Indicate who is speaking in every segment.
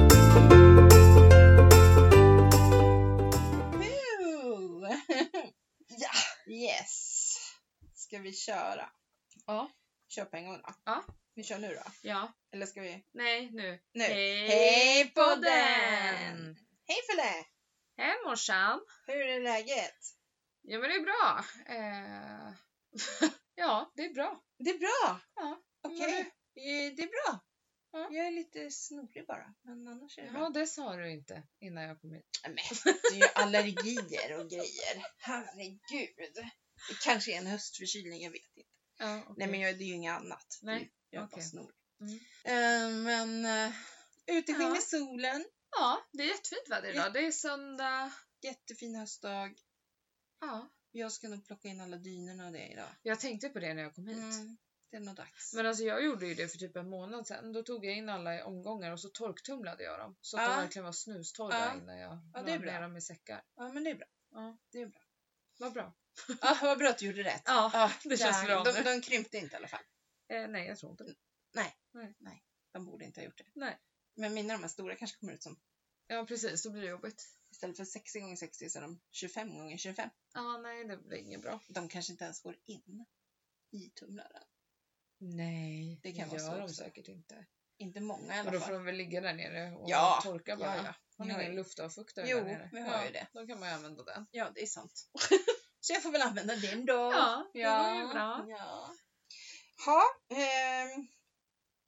Speaker 1: Ska vi köra?
Speaker 2: Ja.
Speaker 1: Kör på en gång då.
Speaker 2: Ja.
Speaker 1: Vi kör nu då.
Speaker 2: Ja.
Speaker 1: Eller ska vi?
Speaker 2: Nej, nu.
Speaker 1: Nu.
Speaker 2: Hej,
Speaker 1: Hej på
Speaker 2: podden!
Speaker 1: den! Hej Felle!
Speaker 2: Hej morsan!
Speaker 1: Hur är läget?
Speaker 2: Ja men det är bra. Eh... ja, det är bra.
Speaker 1: Det är bra!
Speaker 2: Ja,
Speaker 1: Okej.
Speaker 2: men
Speaker 1: Eh, Det är bra.
Speaker 2: Ja.
Speaker 1: Jag är lite snorig bara, men annars är det
Speaker 2: Ja,
Speaker 1: bra.
Speaker 2: det sa du inte innan jag kom hit.
Speaker 1: Nej, Men, det är ju allergier och grejer. Herregud. Det kanske är en höstförkylning, jag vet inte.
Speaker 2: Ja, okej.
Speaker 1: Nej men jag, det är ju inget annat. Det är-
Speaker 2: Nej,
Speaker 1: Jag är bara
Speaker 2: okej.
Speaker 1: snorig.
Speaker 2: Mm.
Speaker 1: Eh, men uh, ute skiner
Speaker 2: Ja.
Speaker 1: solen.
Speaker 2: ja, det är jättefint väder idag. Det är söndag.
Speaker 1: Jättefin höstdag.
Speaker 2: Ja.
Speaker 1: Jag ska nog plocka in alla dynorna och det idag.
Speaker 2: Jag tänkte på det när jag kom hit.
Speaker 1: Mm, det är nog dags.
Speaker 2: Men alltså jag gjorde ju det för typ en månad sedan. Då tog jag in alla i omgångar och så torktumlade jag dem. Så att
Speaker 1: Ja.
Speaker 2: de verkligen var snustorra
Speaker 1: Ja.
Speaker 2: innan jag
Speaker 1: Ja,
Speaker 2: ja,
Speaker 1: det är
Speaker 2: la
Speaker 1: bra.
Speaker 2: ner dem i säckar.
Speaker 1: Ja, men det är bra.
Speaker 2: Ja.
Speaker 1: Det är bra.
Speaker 2: Vad bra.
Speaker 1: Ja, vad bra att du gjorde rätt.
Speaker 2: Ja,
Speaker 1: Ja,
Speaker 2: det känns
Speaker 1: där.
Speaker 2: bra
Speaker 1: de,
Speaker 2: nu.
Speaker 1: de krympte inte i alla fall.
Speaker 2: Eh, nej, jag tror inte det.
Speaker 1: De borde inte ha gjort det.
Speaker 2: Nej.
Speaker 1: Men mina de här stora kanske kommer ut som
Speaker 2: Ja, precis. Då blir det jobbigt.
Speaker 1: istället för 60 gånger 60 så är de 25 gånger 25.
Speaker 2: Ja, nej, det blir inget bra.
Speaker 1: De kanske inte ens går in i tumlaren.
Speaker 2: Nej,
Speaker 1: det kan
Speaker 2: gör
Speaker 1: vara så
Speaker 2: de
Speaker 1: också.
Speaker 2: säkert inte.
Speaker 1: Inte många i
Speaker 2: Och
Speaker 1: alla
Speaker 2: då får
Speaker 1: fall.
Speaker 2: de väl ligga där nere och
Speaker 1: Ja,
Speaker 2: torka bara.
Speaker 1: Ja, ja.
Speaker 2: Har ni
Speaker 1: Ja,
Speaker 2: ingen
Speaker 1: ja.
Speaker 2: luftavfuktare
Speaker 1: Jo,
Speaker 2: där nere?
Speaker 1: vi har
Speaker 2: ja,
Speaker 1: ju det.
Speaker 2: Då kan man ju använda den.
Speaker 1: ja, det är sant. så jag får väl använda den då.
Speaker 2: Ja, det var ju
Speaker 1: ja.
Speaker 2: bra.
Speaker 1: ja. Ha, ehm,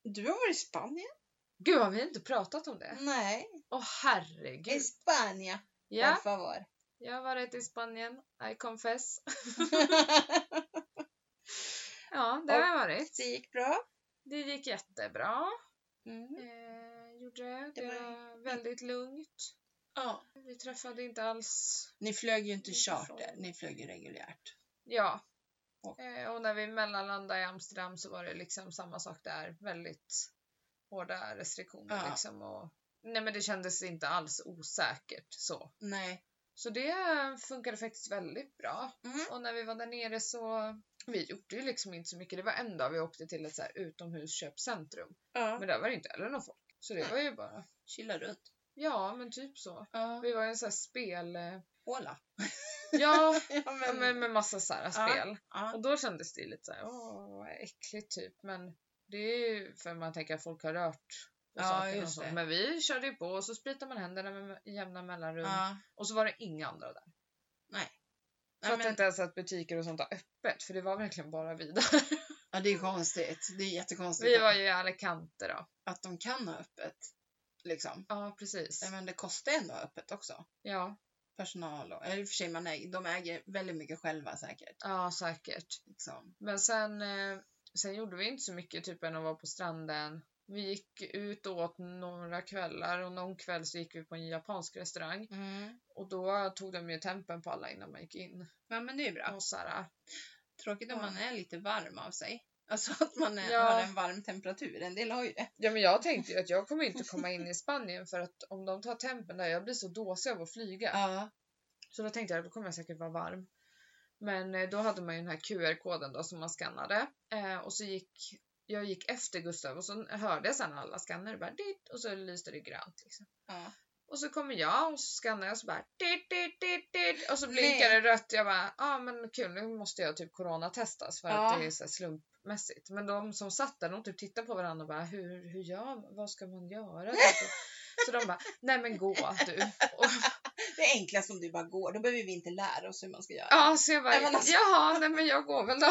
Speaker 1: du har varit i Spanien?
Speaker 2: Gud, har vi inte pratat om det?
Speaker 1: Nej,
Speaker 2: Åh herregud.
Speaker 1: i Spanien.
Speaker 2: Ja,
Speaker 1: Por favor.
Speaker 2: jag har varit i Spanien. I confess. Ja, det
Speaker 1: Och-
Speaker 2: har jag varit.
Speaker 1: det gick bra.
Speaker 2: Det gick jättebra.
Speaker 1: Mm.
Speaker 2: Eh, gjorde det.
Speaker 1: Det var-
Speaker 2: var väldigt lugnt.
Speaker 1: Ja.
Speaker 2: Vi träffade inte alls
Speaker 1: Ni flög ju inte
Speaker 2: Inte
Speaker 1: charter,
Speaker 2: från-
Speaker 1: ni flög ju reguljärt.
Speaker 2: Ja.
Speaker 1: Och-
Speaker 2: Eh, Och när vi mellanlandade i Amsterdam så var det liksom samma sak där. Väldigt hårda restriktioner
Speaker 1: Ja.
Speaker 2: liksom. Och, nej men det kändes inte alls osäkert så.
Speaker 1: Nej.
Speaker 2: Så det eh, funkade faktiskt väldigt bra.
Speaker 1: Mm.
Speaker 2: Och när vi var där nere så vi gjorde ju liksom inte så mycket. Det var en dag vi åkte till ett så här utomhusköpcentrum.
Speaker 1: Ja.
Speaker 2: Men där var det inte heller någon folk. Så det var ju bara,
Speaker 1: Chilla runt.
Speaker 2: ja men typ så.
Speaker 1: Ja.
Speaker 2: Vi var i en sån här spel... eh,
Speaker 1: Hola.
Speaker 2: Ja,
Speaker 1: Ja,
Speaker 2: ja, men med massa så här spel.
Speaker 1: ja.
Speaker 2: Och då kändes det lite så här, åh vad äckligt typ. Men det är ju för man tänker att folk har rört på
Speaker 1: Ja,
Speaker 2: saker och
Speaker 1: just
Speaker 2: så.
Speaker 1: det.
Speaker 2: Men vi körde ju på och så spritar man händerna med jämna mellanrum.
Speaker 1: ja.
Speaker 2: Och så var det inga andra där. Jag
Speaker 1: Nej,
Speaker 2: fattar
Speaker 1: men,
Speaker 2: inte ens att butiker och sånt har öppet för det var verkligen bara vi där.
Speaker 1: ja, det är konstigt. Det är jättekonstigt
Speaker 2: Vi var ju i Alicante då.
Speaker 1: att, att de kan ha öppet. Liksom.
Speaker 2: Ja precis.
Speaker 1: Nej, men det kostar ändå att ha öppet också.
Speaker 2: Ja,
Speaker 1: Personal och, eller i och för sig, man äger, de äger väldigt mycket själva säkert.
Speaker 2: ja säkert.
Speaker 1: Liksom.
Speaker 2: Men sen, eh, sen gjorde vi inte så mycket typ än att vara på stranden. Vi gick ut och åt några kvällar och någon kväll så gick vi på en japansk restaurang. Och då tog de ju tempen på alla innan man gick in.
Speaker 1: Ja, men det är bra.
Speaker 2: Och så här,
Speaker 1: Tråkigt om
Speaker 2: Ja.
Speaker 1: man är lite varm av sig. Alltså att man är,
Speaker 2: Ja.
Speaker 1: har en varm temperatur. En del har ju det.
Speaker 2: ja men jag tänkte ju att jag kommer inte komma in i Spanien för att om de tar tempen där, jag blir så dåsig av att flyga.
Speaker 1: Ja.
Speaker 2: Så då tänkte jag att då kommer jag säkert vara varm. Men eh, då hade man ju den här QR-koden då som man skannade. Eh, och så gick jag gick efter Gustav och så hörde jag sen alla skannare bara dit och så lyste det grönt. Liksom.
Speaker 1: ja.
Speaker 2: Och så kommer jag och så skannar jag och så bara dit, dit, dit, dit, och så
Speaker 1: Nej.
Speaker 2: blinkar det rött. Jag bara, ja ah, men kul nu måste jag typ coronatestas för
Speaker 1: Ja.
Speaker 2: att det är så här slumpmässigt. Men de som satt där de typ tittade på varandra och bara hur, hur gör man? Vad ska man göra? Typ. så de bara, nej men gå du. Och,
Speaker 1: Det är enklast om du bara går. Då behöver vi inte lära oss hur man ska göra.
Speaker 2: ja så jag bara,
Speaker 1: Nej, men alltså-
Speaker 2: jaha nej men jag går väl då.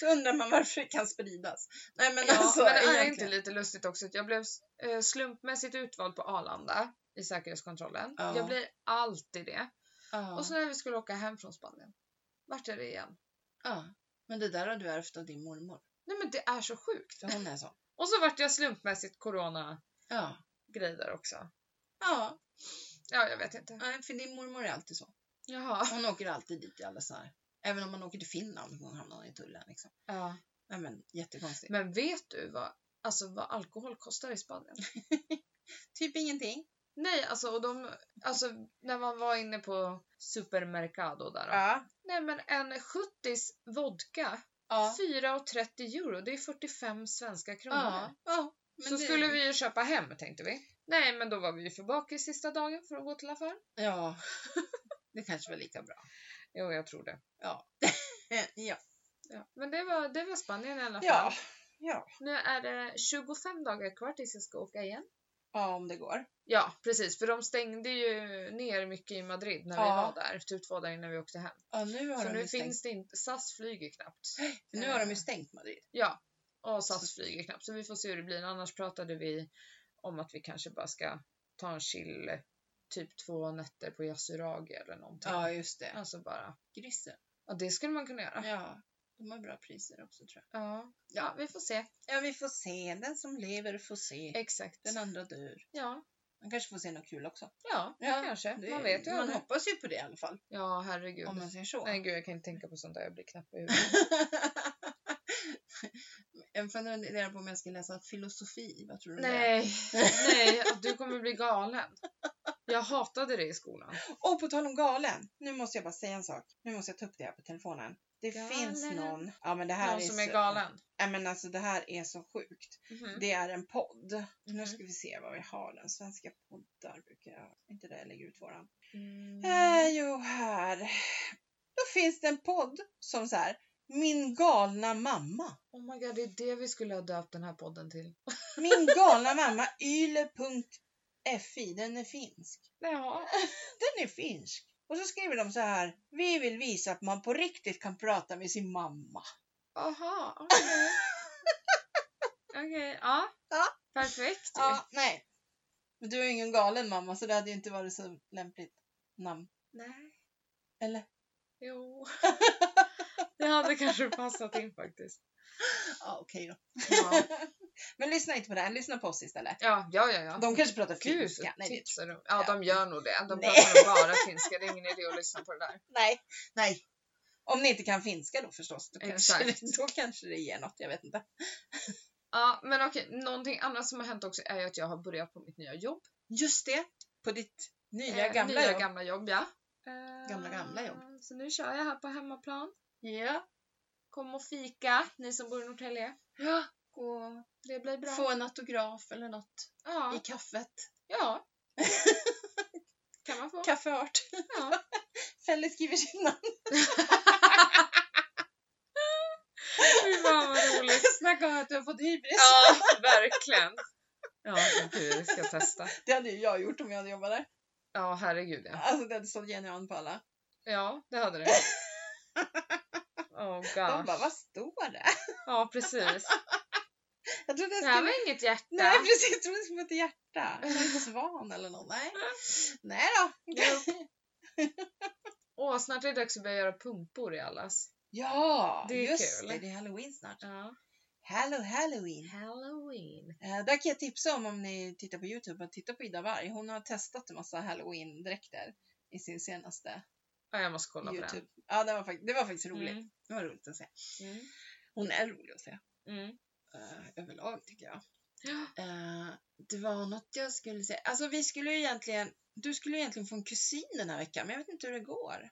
Speaker 1: Så undrar man varför det kan spridas. Nej men
Speaker 2: Ja,
Speaker 1: alltså
Speaker 2: men det är
Speaker 1: egentligen.
Speaker 2: inte lite lustigt också att jag blev eh, slumpmässigt utvald på Arlanda i säkerhetskontrollen.
Speaker 1: Ja.
Speaker 2: Jag blir alltid det.
Speaker 1: Ja.
Speaker 2: Och så när vi skulle åka hem från Spanien, vart är det igen?
Speaker 1: ja. Men det där har du ärvt av din mormor.
Speaker 2: Nej men det är så sjukt.
Speaker 1: För hon är sån.
Speaker 2: Och så vart jag slumpmässigt corona
Speaker 1: Ja.
Speaker 2: där också.
Speaker 1: Ja.
Speaker 2: Ja, jag vet inte.
Speaker 1: Nej, för din mormor är alltid så.
Speaker 2: Jaha.
Speaker 1: Hon åker alltid dit i alla såna här. Även om man åker till Finland hon hamnar i tullen liksom.
Speaker 2: Ja.
Speaker 1: Nej men jättekonstigt.
Speaker 2: Men vet du vad, alltså, vad alkohol kostar i Spanien?
Speaker 1: Typ ingenting.
Speaker 2: Nej, alltså, och de, alltså när man var inne på supermercado där. då.
Speaker 1: Ja.
Speaker 2: Nej men en 70 vodka,
Speaker 1: Ja.
Speaker 2: 4,30 euro, det är 45 svenska kronor.
Speaker 1: Ja. ja.
Speaker 2: Så skulle vi ju köpa hem tänkte vi. Nej men då var vi ju för bakis sista dagen för att gå till affär.
Speaker 1: Ja. Det kanske var lika bra. Eh,
Speaker 2: Jo jag tror det.
Speaker 1: Ja. ja.
Speaker 2: Ja. Men det var, det var Spanien i alla fall.
Speaker 1: Ja. Ja.
Speaker 2: Nu är det 25 dagar kvar tills jag ska åka igen.
Speaker 1: ja, om det går.
Speaker 2: Ja, precis. För de stängde ju ner mycket i Madrid när vi
Speaker 1: Ja.
Speaker 2: var där. Typ två dagar innan vi åkte hem.
Speaker 1: Ja, nu har,
Speaker 2: Så
Speaker 1: de,
Speaker 2: nu
Speaker 1: ju stängt, eh,
Speaker 2: finns det inte. SAS flyger knappt.
Speaker 1: nu har de ju stängt Madrid.
Speaker 2: Ja, och SAS flyger knappt. Så vi får se hur det blir. Annars pratade vi om att vi kanske bara ska ta en chill typ två nätter på Yasuragi eller någonting.
Speaker 1: Ja, just det.
Speaker 2: Alltså bara.
Speaker 1: Grisen.
Speaker 2: Ja, det skulle man kunna göra.
Speaker 1: Ja, de har bra priser också tror jag.
Speaker 2: Ja, ja vi får se.
Speaker 1: Ja, vi får se. Den som lever får se.
Speaker 2: Exakt.
Speaker 1: Den andra dör.
Speaker 2: Ja,
Speaker 1: Man kanske får se något kul också.
Speaker 2: ja,
Speaker 1: Ja,
Speaker 2: kanske.
Speaker 1: Det-
Speaker 2: man vet ju
Speaker 1: Man
Speaker 2: aldrig.
Speaker 1: hoppas ju på det i alla fall.
Speaker 2: Ja, herregud.
Speaker 1: Om man säger så.
Speaker 2: Nej, gud, jag kan inte tänka på sånt där. Jag blir knäpp i huvudet.
Speaker 1: jag funderar på om jag ska läsa filosofi. Vad tror du om
Speaker 2: Nej, nej, att du kommer bli galen. Jag hatade det i skolan.
Speaker 1: det? Och på tal om galen. Nu måste jag bara säga en sak. Nu måste jag ta upp det här på telefonen. Det
Speaker 2: Galen.
Speaker 1: finns någon. Ja, men det här
Speaker 2: Någon
Speaker 1: är
Speaker 2: som är
Speaker 1: så,
Speaker 2: galen.
Speaker 1: Nej, men alltså det här är så sjukt.
Speaker 2: Mhm.
Speaker 1: Det är en podd. Nu
Speaker 2: Mhm.
Speaker 1: ska vi se vad vi har den. Svenska poddar brukar jag... Inte där jag lägger ut våran.
Speaker 2: Mm.
Speaker 1: Eh, jo, här. Då finns det en podd som så här. Min galna mamma.
Speaker 2: Oh my god, det är det vi skulle ha döpt den här podden till.
Speaker 1: Min galna mamma yle.fi. Den är finsk.
Speaker 2: Jaha.
Speaker 1: Den är finsk. Och så skriver de så här. Vi vill visa att man på riktigt kan prata med sin mamma.
Speaker 2: Aha, okej. Okej, ja.
Speaker 1: Ja.
Speaker 2: Perfekt. ju.
Speaker 1: Ja, nej. Typ. Men du är ju ingen galen mamma så det hade ju inte varit så lämpligt namn.
Speaker 2: Nej.
Speaker 1: Eller?
Speaker 2: Jo. Det hade kanske passat in faktiskt.
Speaker 1: Ja, okej då.
Speaker 2: Ja,
Speaker 1: Men lyssna inte på det här. Lyssna på oss istället.
Speaker 2: ja, ja. ja, ja.
Speaker 1: De kanske pratar
Speaker 2: Gud,
Speaker 1: finska. Nej, det-
Speaker 2: tipsar de. Ja, de gör nog det. De
Speaker 1: Nej.
Speaker 2: pratar nog bara finska. Det är ingen idé att lyssna på det där.
Speaker 1: Nej. Nej. Om ni inte kan finska då förstås. Då kanske,
Speaker 2: Exakt.
Speaker 1: då kanske det ger något, jag vet inte.
Speaker 2: Ja, men okej. Någonting annat som har hänt också är ju att jag har börjat på mitt nya jobb.
Speaker 1: Just det, på ditt nya
Speaker 2: Eh,
Speaker 1: gamla
Speaker 2: nya
Speaker 1: jobb.
Speaker 2: gamla jobb, ja.
Speaker 1: Gamla, gamla jobb.
Speaker 2: Eh, Så nu kör jag här på hemmaplan.
Speaker 1: ja.
Speaker 2: Kom och fika, ni som bor i Norrtälje.
Speaker 1: Ja.
Speaker 2: Och det blir bra.
Speaker 1: Få en autograf eller något i
Speaker 2: Ja,
Speaker 1: kaffet.
Speaker 2: ja. kan man få.
Speaker 1: Kaffeart.
Speaker 2: Ja.
Speaker 1: Felle skriver sitt namn.
Speaker 2: Fy fan vad roligt.
Speaker 1: Snacka om att du har fått hybris.
Speaker 2: Ja, verkligen. Ja, men gud, jag ska testa.
Speaker 1: Det hade ju jag gjort om jag hade jobbat där.
Speaker 2: Ja, herregud ja.
Speaker 1: Alltså det hade stått Jenny och Ann på alla.
Speaker 2: Ja, det hade det.
Speaker 1: De
Speaker 2: Oh gosh.
Speaker 1: bara, vad står det?
Speaker 2: Ja, precis.
Speaker 1: Jag trodde jag
Speaker 2: Det här
Speaker 1: skulle...
Speaker 2: var inget hjärta.
Speaker 1: Nej precis, jag trodde det skulle vara ett hjärta. En svan eller något. Nej. Nej då.
Speaker 2: Åh, snart är det dags att börja göra pumpor i allas.
Speaker 1: Ja,
Speaker 2: Det är
Speaker 1: just
Speaker 2: kul.
Speaker 1: det. Det är halloween snart.
Speaker 2: Ja.
Speaker 1: Hello halloween.
Speaker 2: Halloween.
Speaker 1: Eh, där kan jag tipsa om om ni tittar på Youtube att titta på Ida Warg. Hon har testat en massa halloween-dräkter i sin senaste
Speaker 2: Ja, jag måste kolla på
Speaker 1: Youtube. Ja, det var, fakt- det var faktiskt
Speaker 2: den.
Speaker 1: roligt.
Speaker 2: Mm.
Speaker 1: Det var roligt att se.
Speaker 2: Mm.
Speaker 1: Hon är rolig att se.
Speaker 2: Mm.
Speaker 1: eh, överlag tycker jag.
Speaker 2: Ja.
Speaker 1: Eh, det var något jag skulle säga. Alltså vi skulle ju egentligen, du skulle ju egentligen få en kusin den här veckan men jag vet inte hur det går.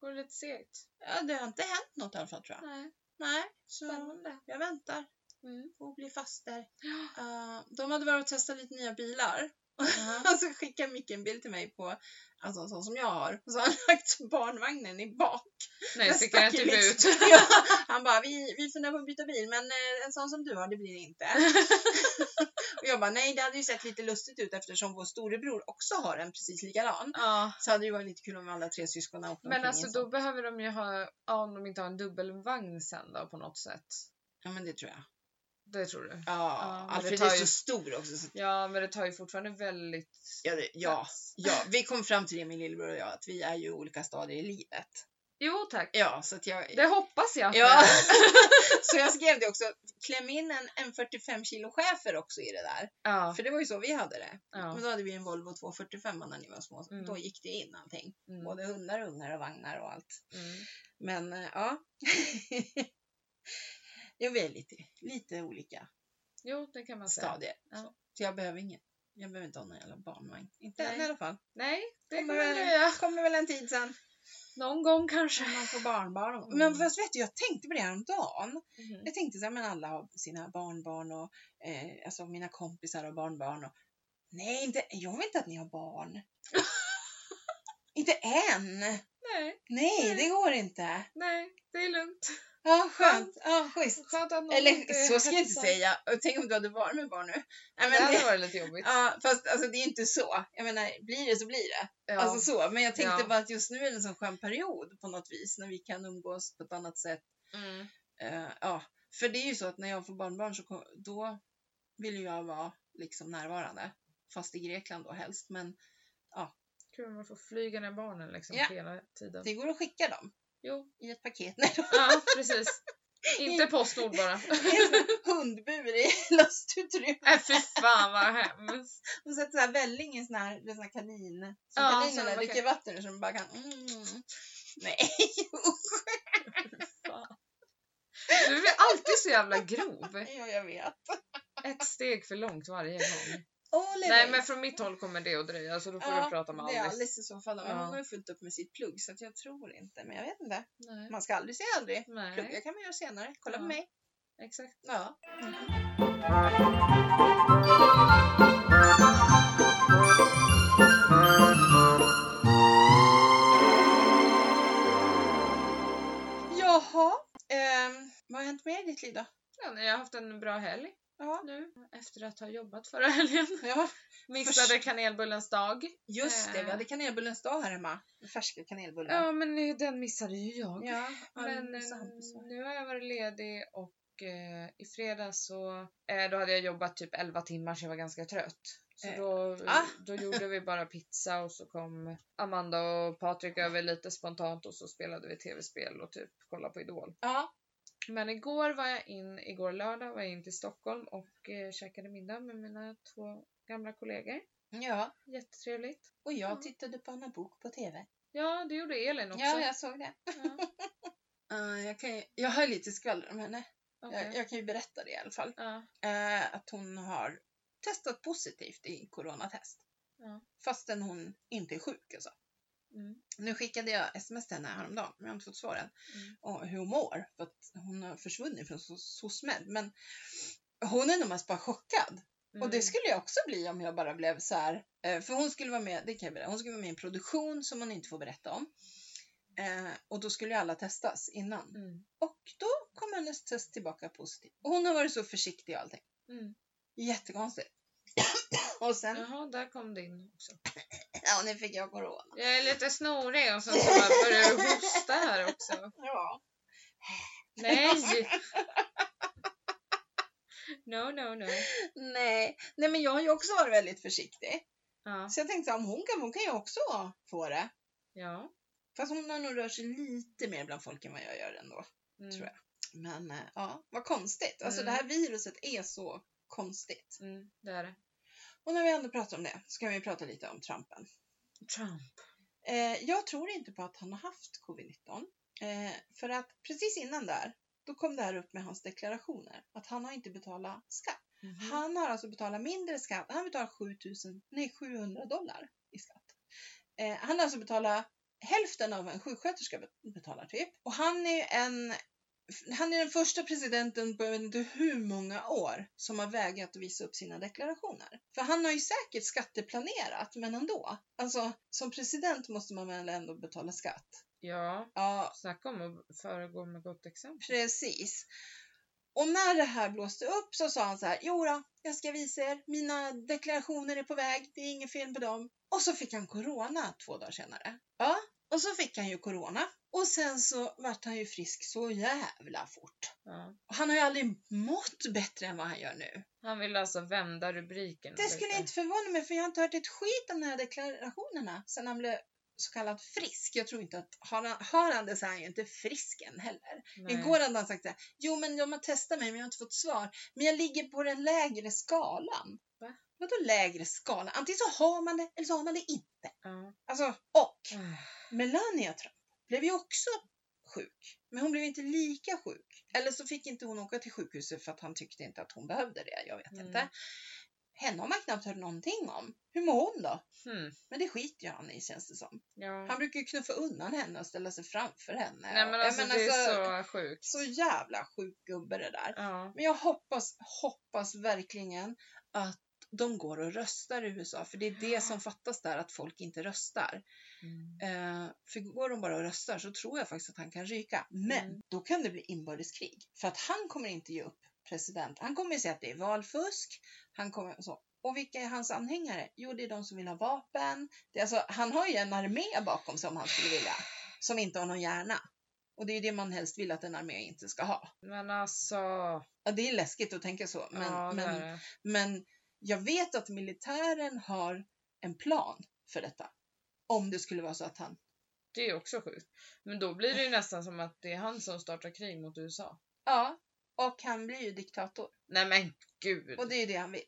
Speaker 2: Går det lite segt?
Speaker 1: Ja, det har inte hänt något i alla fall tror jag.
Speaker 2: Nej,
Speaker 1: Nej, så
Speaker 2: spännande.
Speaker 1: jag väntar
Speaker 2: Mm.
Speaker 1: på att bli faster.
Speaker 2: Ja.
Speaker 1: Eh, de hade varit och testat lite nya bilar.
Speaker 2: Ja.
Speaker 1: Och så skickade Micke en bild till mig på alltså, en sån som jag har. Och så har han lagt barnvagnen i bak.
Speaker 2: Nej,
Speaker 1: Den
Speaker 2: sticker den
Speaker 1: stack
Speaker 2: typ
Speaker 1: ju liksom-
Speaker 2: ut.
Speaker 1: Ja, han bara, vi, vi funderar på att byta bil men eh, en sån som du har det blir det inte. och jag bara, nej det hade ju sett lite lustigt ut eftersom vår storebror också har en precis likadan.
Speaker 2: Ja.
Speaker 1: Så hade det ju varit lite kul om alla tre syskonen åkte omkring
Speaker 2: Men
Speaker 1: i
Speaker 2: alltså
Speaker 1: en
Speaker 2: då
Speaker 1: sån.
Speaker 2: behöver de ju ha, ja, om de inte har en dubbelvagn sen då på något sätt.
Speaker 1: Ja men det tror jag.
Speaker 2: Det tror du?
Speaker 1: Ja,
Speaker 2: Ja, men
Speaker 1: Alfred
Speaker 2: det tar
Speaker 1: är
Speaker 2: ju-
Speaker 1: så stor också. Så...
Speaker 2: Ja, men det tar ju fortfarande väldigt
Speaker 1: Ja, det, ja,
Speaker 2: plats.
Speaker 1: ja, vi kom fram till det min lillebror och jag att vi är ju i olika stadier i livet.
Speaker 2: Jo tack.
Speaker 1: Ja, så att jag...
Speaker 2: Det hoppas jag. att
Speaker 1: Ja.
Speaker 2: ni-
Speaker 1: så jag skrev det också, kläm in en, en 45 kilo schäfer också i det där.
Speaker 2: ja.
Speaker 1: För det var ju så vi hade det.
Speaker 2: ja.
Speaker 1: Men då hade vi en Volvo 245 när ni var små. så
Speaker 2: Mm.
Speaker 1: Då gick det in allting.
Speaker 2: Mm.
Speaker 1: Både hundar, ungar och vagnar och allt.
Speaker 2: Mm.
Speaker 1: Men eh, ja. jag vi är lite, lite olika
Speaker 2: Jo, det kan man säga.
Speaker 1: stadier.
Speaker 2: Ja.
Speaker 1: Så jag behöver ingen. Jag behöver inte ha någon jävla barnvagn. Inte än
Speaker 2: Nej.
Speaker 1: i alla fall.
Speaker 2: Nej, det
Speaker 1: Kommer
Speaker 2: kommer
Speaker 1: väl-
Speaker 2: dröja.
Speaker 1: kommer väl en tid sen.
Speaker 2: Någon gång kanske.
Speaker 1: När man får barnbarn.
Speaker 2: Mm.
Speaker 1: Men fast vet du, jag tänkte på det häromdagen.
Speaker 2: Mm.
Speaker 1: Jag tänkte så här, men alla har sina barnbarn och eh, alltså mina kompisar har barnbarn. Och, nej, inte, jag vill inte att ni har barn. inte än.
Speaker 2: Nej,
Speaker 1: Nej,
Speaker 2: Nej.
Speaker 1: det går inte.
Speaker 2: nej, det är lugnt.
Speaker 1: Ja, skönt. Ja, schysst.
Speaker 2: Skönt att någon
Speaker 1: Eller
Speaker 2: inte
Speaker 1: så ska jag inte
Speaker 2: hetsar.
Speaker 1: säga. Och tänk om du hade varit med barn nu. Nej,
Speaker 2: Det
Speaker 1: men
Speaker 2: hade
Speaker 1: det,
Speaker 2: varit lite jobbigt.
Speaker 1: ja, fast alltså, det är inte så. Jag menar, blir det så blir det.
Speaker 2: Ja.
Speaker 1: Alltså så. Men jag tänkte
Speaker 2: Ja.
Speaker 1: bara att just nu är det en sån skön period på något vis när vi kan umgås på ett annat sätt.
Speaker 2: mm.
Speaker 1: Eh, ja, för det är ju så att när jag får barnbarn så kom, då vill ju jag vara liksom närvarande. Fast i Grekland då helst. Men
Speaker 2: Kul om man får flyga ner barnen liksom
Speaker 1: Ja.
Speaker 2: hela tiden.
Speaker 1: det går att skicka dem
Speaker 2: Jo,
Speaker 1: i ett paket. Nej,
Speaker 2: ja precis. Inte Postnord bara.
Speaker 1: hundbur i lastutrymme.
Speaker 2: Nej fy fan vad hemskt.
Speaker 1: Och sätter så här välling i sån här, det är sån här kanin. Så
Speaker 2: Ja, så
Speaker 1: kaninerna
Speaker 2: man
Speaker 1: dricker
Speaker 2: kan-
Speaker 1: vatten ur så de bara kan... Mm. Nej, usch.
Speaker 2: Du är alltid så jävla grov.
Speaker 1: Jo, jag vet.
Speaker 2: Ett steg för långt varje gång.
Speaker 1: Oliver.
Speaker 2: Nej men från mitt håll kommer det att dröja så då får
Speaker 1: Ja,
Speaker 2: vi prata med
Speaker 1: Det är
Speaker 2: Alice.
Speaker 1: Alice i så fall. Men
Speaker 2: Ja.
Speaker 1: hon har ju fullt upp med sitt plugg så att jag tror inte. Men jag vet inte.
Speaker 2: Nej.
Speaker 1: Man ska aldrig säga aldrig. Plugga
Speaker 2: Nej,
Speaker 1: kan man göra senare. Kolla på
Speaker 2: Ja.
Speaker 1: mig.
Speaker 2: exakt.
Speaker 1: Ja. Jaha. ehm, vad har hänt med i ditt liv då?
Speaker 2: Ja, nej, jag har haft en bra helg
Speaker 1: Ja.
Speaker 2: nu efter att ha jobbat förra helgen.
Speaker 1: ja.
Speaker 2: Missade kanelbullens dag.
Speaker 1: Just det, vi
Speaker 2: Eh.
Speaker 1: hade kanelbullens dag här hemma. Färska kanelbullar.
Speaker 2: Ja men eh, den missade ju jag.
Speaker 1: Ja,
Speaker 2: Men
Speaker 1: Alice och
Speaker 2: eh,
Speaker 1: Hampus var-
Speaker 2: nu har jag varit ledig och eh, i fredags så eh, då hade jag jobbat typ 11 timmar så jag var ganska trött. Så
Speaker 1: Eh,
Speaker 2: då,
Speaker 1: ah.
Speaker 2: då gjorde vi bara pizza och så kom Amanda och Patrik över lite spontant och så spelade vi tv-spel och typ kollade på Idol.
Speaker 1: Ja.
Speaker 2: Men igår var jag in, igår lördag var jag in till Stockholm och eh, käkade middag med mina två gamla kollegor.
Speaker 1: ja.
Speaker 2: Jättetrevligt.
Speaker 1: Och jag
Speaker 2: Ja.
Speaker 1: tittade på Anna Bok på TV.
Speaker 2: Ja, det gjorde Elin också.
Speaker 1: Ja, jag såg det.
Speaker 2: Ja,
Speaker 1: Eh, jag, kan ju, jag har lite skvaller om henne.
Speaker 2: okej.
Speaker 1: Jag, jag kan ju berätta det i alla fall.
Speaker 2: Ja,
Speaker 1: Eh, att hon har testat positivt i coronatest.
Speaker 2: Ja.
Speaker 1: Fastän hon inte är sjuk alltså.
Speaker 2: mm,
Speaker 1: Nu skickade jag sms till henne häromdagen, men jag har inte fått svar än.
Speaker 2: Mm.
Speaker 1: Och hur hon mår, för att hon har försvunnit från so- SOSMED. Men hon är nog mest bara chockad. Och det
Speaker 2: mm.
Speaker 1: skulle jag också bli om jag bara blev så här. eh, För hon skulle vara med, det kan jag berätta, hon skulle vara med i en produktion som hon inte får berätta om. Eh, och då skulle ju alla testas innan.
Speaker 2: Mm,
Speaker 1: Och då kom hennes test tillbaka positivt. Och hon har varit så försiktig och allting.
Speaker 2: mm.
Speaker 1: Jättekonstigt. och sen,
Speaker 2: Jaha, där kom din också.
Speaker 1: ja nu fick jag corona.
Speaker 2: Jag är lite snorig och sen så bara börjar du hosta här också.
Speaker 1: Ja.
Speaker 2: Nej! No, no, no.
Speaker 1: Nej. Nej men jag har ju också varit väldigt försiktig.
Speaker 2: Ja,
Speaker 1: Så jag tänkte så här, om hon kan, hon kan ju också få det.
Speaker 2: ja.
Speaker 1: Fast hon har nog rört sig lite mer bland folk än vad jag gör ändå.
Speaker 2: Mm,
Speaker 1: Tror Men eh, ja, vad konstigt. Alltså
Speaker 2: Mm.
Speaker 1: det här viruset är så konstigt.
Speaker 2: Mm, det är det.
Speaker 1: Och när vi ändå pratar om det så kan vi prata lite om Trumpen.
Speaker 2: Trump.
Speaker 1: Eh, jag tror inte på att han har haft covid-19. Eh, för att precis innan där, då kom det här upp med hans deklarationer. Att han har inte betalat skatt.
Speaker 2: Mhm.
Speaker 1: Han har alltså betalat mindre skatt. Han betalar 7000, nej 700 dollar i skatt. Eh, han har alltså betalat hälften av vad en sjuksköterska bet- betalar typ. Och han är ju en han är den första presidenten på jag vet inte hur många år som har vägrat att visa upp sina deklarationer. För han har ju säkert skatteplanerat, men ändå. Alltså, som president måste man väl ändå betala skatt?
Speaker 2: Ja,
Speaker 1: Ja,
Speaker 2: snacka om att föregå med gott exempel.
Speaker 1: Precis. Och när det här blåste upp så sa han så här, jo då, jag ska visa er, mina deklarationer är på väg, det är inget fel på dem. Och så fick han corona två dagar senare. Ja, och så fick han ju corona. Och sen så vart han ju frisk så jävla fort.
Speaker 2: Ja.
Speaker 1: Och han har ju aldrig mått bättre än vad han gör nu.
Speaker 2: Han vill alltså vända rubriken.
Speaker 1: Det skulle
Speaker 2: lite.
Speaker 1: inte förvåna mig för jag har inte hört ett skit om de här deklarationerna sen han blev så kallad frisk. Jag tror inte att, har han, har han det så är han ju inte frisk än heller.
Speaker 2: Nej.
Speaker 1: Igår hade han sagt så här, jo men de har testat mig men jag har inte fått svar. Men jag ligger på den lägre skalan.
Speaker 2: Va?
Speaker 1: Vadå lägre skala? Antingen så har man det eller så har man det inte.
Speaker 2: Ja.
Speaker 1: Alltså, och
Speaker 2: Ah,
Speaker 1: Melania Trump blev ju också sjuk. Men hon blev inte lika sjuk. Eller så fick inte hon åka till sjukhuset för att han tyckte inte att hon behövde det. Jag vet
Speaker 2: Mm.
Speaker 1: inte. Henne har man knappt hört någonting om. Hur mår hon då?
Speaker 2: Hmm.
Speaker 1: Men det skiter ju han i känns det som.
Speaker 2: Ja.
Speaker 1: Han brukar ju knuffa undan henne och ställa sig framför henne.
Speaker 2: Mm. Nej men
Speaker 1: Jag
Speaker 2: alltså
Speaker 1: menar,
Speaker 2: det
Speaker 1: så-
Speaker 2: är så sjukt.
Speaker 1: så jävla sjuk gubbe det där.
Speaker 2: Ja.
Speaker 1: Men jag hoppas, hoppas verkligen att de går och röstar i USA. För det är det som fattas där, att folk inte röstar.
Speaker 2: Mm.
Speaker 1: Eh, för går de bara och röstar så tror jag faktiskt att han kan ryka. Men
Speaker 2: Mm.
Speaker 1: då kan det bli inbördeskrig. För att han kommer inte ge upp president. Han kommer säga att det är valfusk. Han kommer, så. Och vilka är hans anhängare? Jo, det är de som vill ha vapen. Det, är alltså, han har ju en armé bakom sig om han skulle vilja. Som inte har någon hjärna. Och det är ju det man helst vill att en armé inte ska ha.
Speaker 2: Men alltså...
Speaker 1: Ja, det är läskigt att tänka så. Men,
Speaker 2: ja, det
Speaker 1: men,
Speaker 2: är det.
Speaker 1: men jag vet att militären har en plan för detta. Om det skulle vara så att han...
Speaker 2: det är också sjukt. Men då blir det ju nästan som att det är han som startar krig mot USA.
Speaker 1: Ja, och han blir ju diktator.
Speaker 2: Nej men gud!
Speaker 1: Och det är ju det han vill.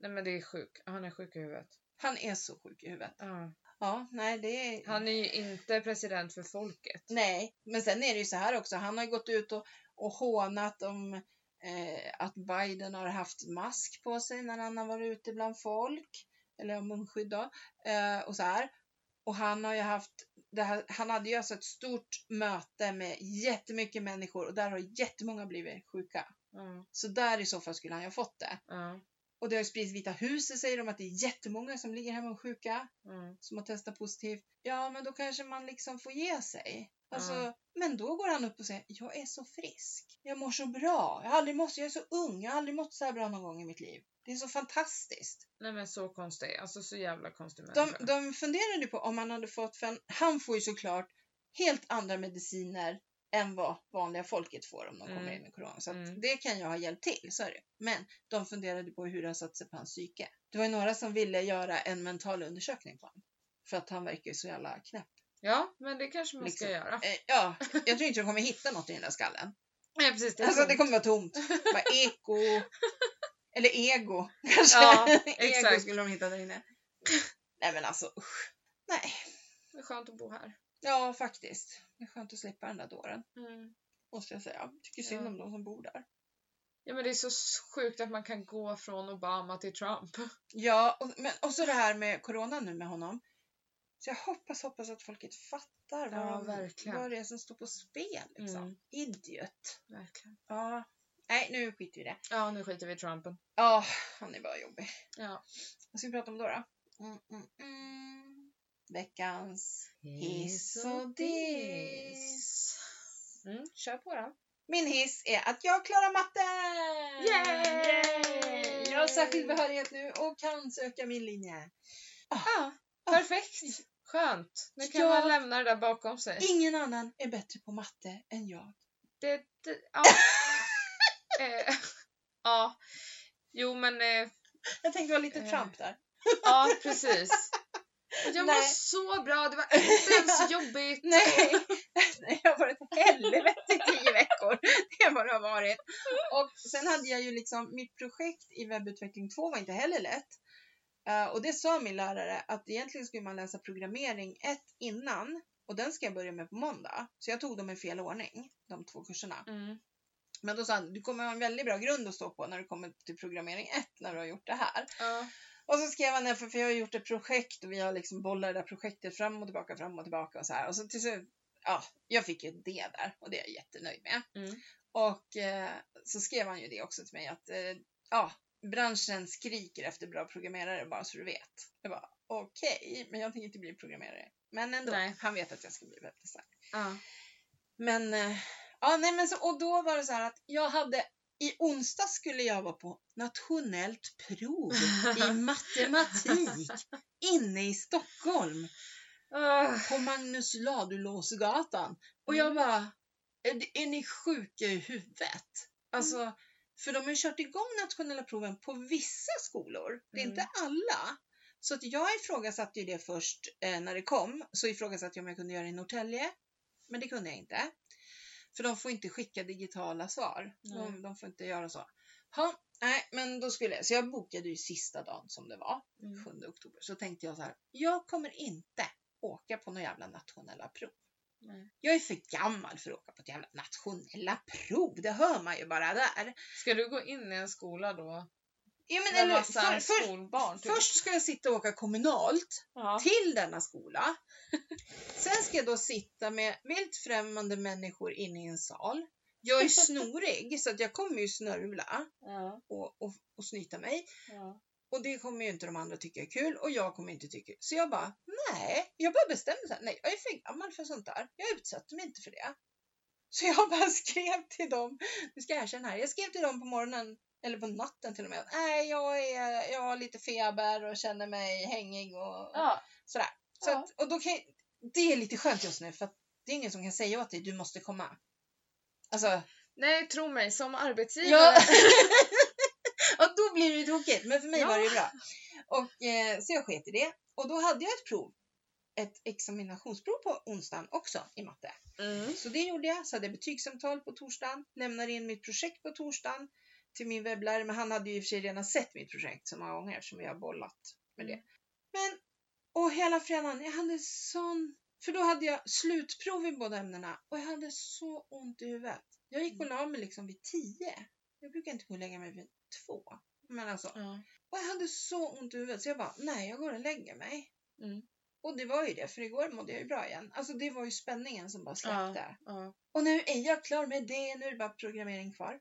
Speaker 2: Nej men det är sjuk. Han är sjuk i huvudet.
Speaker 1: Han är så sjuk i huvudet.
Speaker 2: Ja.
Speaker 1: Ja, nej det är...
Speaker 2: Han är ju inte president för folket.
Speaker 1: Nej, men sen är det ju så här också. Han har ju gått ut och, och hånat om eh, att Biden har haft mask på sig när han har varit ute bland folk. Eller munskydd då. Eh, och så här. Och han har ju haft, det här, han hade ju alltså ett stort möte med jättemycket människor och där har jättemånga blivit sjuka.
Speaker 2: Ja.
Speaker 1: Så där i så fall skulle han ju ha fått det.
Speaker 2: Ja.
Speaker 1: Och det har ju spridits Vita huset säger de att det är jättemånga som ligger hemma och sjuka
Speaker 2: Ja.
Speaker 1: som har testat positivt, ja men då kanske man liksom får ge sig. Alltså,
Speaker 2: Ja.
Speaker 1: Men då går han upp och säger, jag är så frisk, jag mår så bra, jag, har aldrig mått, jag är så ung, jag har aldrig mått så här bra någon gång i mitt liv. Det är så fantastiskt.
Speaker 2: Nej men så konstig. Alltså så jävla konstig människa.
Speaker 1: De, de funderade ju på om han hade fått, för han- han får ju såklart helt andra mediciner än vad vanliga folket får om de
Speaker 2: Mm.
Speaker 1: kommer in med corona. Så att
Speaker 2: Mm.
Speaker 1: det kan ju ha hjälpt till, så är det. Men de funderade på hur det har satt sig på hans psyke. Det var ju några som ville göra en mental undersökning på honom. För att han verkar ju så jävla knäpp.
Speaker 2: Ja men det kanske man
Speaker 1: Liksom.
Speaker 2: ska göra.
Speaker 1: Eh, ja, jag tror inte du kommer hitta något i den där skallen.
Speaker 2: Nej precis. Det är
Speaker 1: Alltså
Speaker 2: så.
Speaker 1: det kommer vara tomt. Bara eko. Eller ego kanske.
Speaker 2: Ja,
Speaker 1: ego
Speaker 2: exakt.
Speaker 1: skulle de hitta där inne. Nej men alltså usch. Nej.
Speaker 2: det är skönt att bo här.
Speaker 1: Ja faktiskt. Det är skönt att slippa den där dåren.
Speaker 2: Mm.
Speaker 1: Måste jag säga. Jag tycker synd
Speaker 2: Ja.
Speaker 1: om de som bor där.
Speaker 2: Ja men det är så sjukt att man kan gå från Obama till Trump.
Speaker 1: Ja och, men, och så det här med corona nu med honom. Så jag hoppas, hoppas att folket fattar vad,
Speaker 2: Ja,
Speaker 1: de-
Speaker 2: verkligen.
Speaker 1: vad det är som står på spel. Liksom.
Speaker 2: Mm.
Speaker 1: Idiot.
Speaker 2: Verkligen.
Speaker 1: Ja. Nej nu skiter vi i det.
Speaker 2: Ja nu skiter vi i Trumpen.
Speaker 1: Ja, han är bara jobbig.
Speaker 2: Ja.
Speaker 1: Vad ska vi prata om då? då? Mm, mm, mm. Veckans hiss och diss.
Speaker 2: Mm, kör på då.
Speaker 1: Min hiss är att jag klarar matten!
Speaker 2: Yay!
Speaker 1: Jag har särskild behörighet nu och kan söka min linje. Ah,
Speaker 2: Ja, perfekt. Skönt. Nu kan
Speaker 1: Ja.
Speaker 2: man lämna det där bakom sig.
Speaker 1: Ingen annan är bättre på matte än jag.
Speaker 2: Det, det, ja. eh, ja. Jo men, eh,
Speaker 1: Jag tänkte vara lite
Speaker 2: Eh.
Speaker 1: Trump där.
Speaker 2: ja precis. Jag mår
Speaker 1: Nej.
Speaker 2: så bra, det var inte ens jobbigt.
Speaker 1: Nej, Nej, jag har varit ett helvete i tio veckor. Det är vad det har varit. Och sen hade jag ju liksom, mitt projekt i webbutveckling 2 var inte heller lätt. Eh, och det sa min lärare att egentligen skulle man läsa programmering 1 innan och den ska jag börja med på måndag. Så jag tog dem i fel ordning, de två kurserna.
Speaker 2: Mm,
Speaker 1: Men då sa han, du kommer ha en väldigt bra grund att stå på när du kommer till programmering 1 när du har gjort det här.
Speaker 2: ja.
Speaker 1: Och så skrev han det, för, för jag har gjort ett projekt och vi har liksom bollat det där projektet fram och tillbaka, fram och tillbaka och så här. Och så till slut, ja, jag fick ju det där och det är jag jättenöjd med.
Speaker 2: Mm.
Speaker 1: Och eh, så skrev han ju det också till mig att, eh, ja, branschen skriker efter bra programmerare bara så du vet. Jag bara, okej, men jag tänker inte bli programmerare. Men ändå,
Speaker 2: Nej.
Speaker 1: han vet att jag ska bli webbdesignare.
Speaker 2: ja.
Speaker 1: Men, eh, ja, nej, men så, och då var det så här att jag hade, i onsdag skulle jag vara på nationellt prov i matematik inne i Stockholm
Speaker 2: Ah,
Speaker 1: på Magnus Ladulåsgatan. Och
Speaker 2: Mm.
Speaker 1: jag bara, är, det- är ni sjuka i huvudet? Alltså,
Speaker 2: Mm.
Speaker 1: för de har ju kört igång nationella proven på vissa skolor, det är
Speaker 2: Mm.
Speaker 1: inte alla. Så att jag ifrågasatte ju det först eh, när det kom, så ifrågasatte jag om jag kunde göra det i Norrtälje, men det kunde jag inte. För de får inte skicka digitala svar,
Speaker 2: Nej.
Speaker 1: de, de får inte göra så. Ha, nej, men då skulle jag, så jag bokade ju sista dagen som det var.
Speaker 2: mm.
Speaker 1: 7 oktober så tänkte jag så här, jag kommer inte åka på några jävla nationella prov.
Speaker 2: Nej.
Speaker 1: Jag är för gammal för att åka på ett jävla nationella prov, det hör man ju bara där.
Speaker 2: Ska du gå in i en skola då?
Speaker 1: Ja, men,
Speaker 2: Med
Speaker 1: eller,
Speaker 2: massa
Speaker 1: för, för,
Speaker 2: skolbarn? Typ?
Speaker 1: först ska jag sitta och åka kommunalt
Speaker 2: Ja.
Speaker 1: till denna skola. Sen ska jag då sitta med vilt främmande människor inne i en sal. Jag är snorig så att jag kommer ju snörvla
Speaker 2: Ja.
Speaker 1: och, och, och snyta mig.
Speaker 2: Ja.
Speaker 1: Och det kommer ju inte de andra tycka är kul och jag kommer inte tycka Så jag bara, nej. Jag bara bestämde så här, nej jag är för gammal för sånt där. Jag utsätter mig inte för det. Så jag bara skrev till dem, nu ska jag erkänna här, jag skrev till dem på morgonen, eller på natten till och med. Nej, jag, är, jag har lite feber och känner mig hängig och
Speaker 3: Ja.
Speaker 1: sådär. Så
Speaker 3: Ja.
Speaker 1: att, och då kan, det är lite skönt just nu för att det är ingen som kan säga åt dig, du måste komma. Alltså,
Speaker 2: Nej, tro mig, som arbetsgivare.
Speaker 1: Ja. och då blir det ju tokigt, men för mig
Speaker 2: Ja.
Speaker 1: var det ju bra. Och, eh, så jag sket i det. Och då hade jag ett prov, ett examinationsprov på onsdagen också i matte.
Speaker 2: Mm.
Speaker 1: Så det gjorde jag, så hade jag betygssamtal på torsdagen, lämnade in mitt projekt på torsdagen till min webblärare, men han hade ju i och för sig redan sett mitt projekt så många gånger eftersom jag har bollat med det. Men, och hela fredagen, jag hade sån, för då hade jag slutprov i båda ämnena och jag hade så ont i huvudet. Jag gick och la mig liksom vid tio. Jag brukar inte gå och lägga mig vid två. Men alltså,
Speaker 2: Ja.
Speaker 1: och jag hade så ont i huvudet så jag bara, nej jag går och lägger mig.
Speaker 2: Mm.
Speaker 1: Och det var ju det, för igår mådde jag ju bra igen. Alltså det var ju spänningen som bara släppte.
Speaker 2: ja.
Speaker 1: Och nu är jag klar med det, nu är det bara programmering kvar.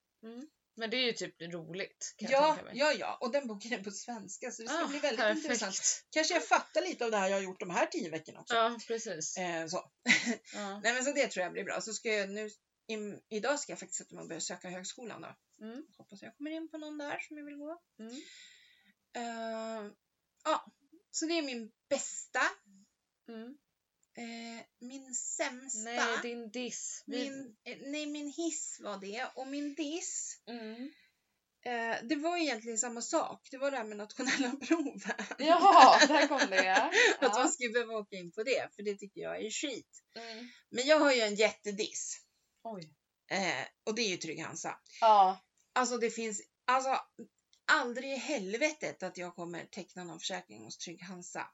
Speaker 2: Men det är ju typ roligt. Kan jag
Speaker 1: Ja,
Speaker 2: tänka mig.
Speaker 1: ja, ja, och den boken är på svenska så det ska
Speaker 2: Ah,
Speaker 1: bli väldigt
Speaker 2: perfekt.
Speaker 1: intressant. Kanske jag fattar lite av det här jag har gjort de här tio veckorna också.
Speaker 2: Ja, precis.
Speaker 1: Eh, så.
Speaker 2: Ja.
Speaker 1: Nej men så det tror jag blir bra. Så ska jag nu, im- idag ska jag faktiskt sätta mig och börja söka högskolan då.
Speaker 2: Mm.
Speaker 1: Hoppas jag kommer in på någon där som jag vill gå.
Speaker 2: Mm.
Speaker 1: Eh, ja, så det är min bästa.
Speaker 2: Mm.
Speaker 1: Eh, min sämsta.
Speaker 2: Nej, din diss. Vi-
Speaker 1: min, eh, nej, min hiss var det. Och min diss.
Speaker 2: Mm.
Speaker 1: Eh, det var egentligen samma sak. Det var det här med nationella proven.
Speaker 3: Jaha, där kom det. Ja.
Speaker 1: Att man skulle behöva åka in på det, för det tycker jag är skit.
Speaker 3: Mm.
Speaker 1: Men jag har ju en jättediss.
Speaker 2: Oj.
Speaker 1: Eh, och det är ju Trygg-Hansa.
Speaker 3: ja.
Speaker 1: Alltså det finns, alltså aldrig i helvetet att jag kommer teckna någon försäkring hos Trygg-Hansa.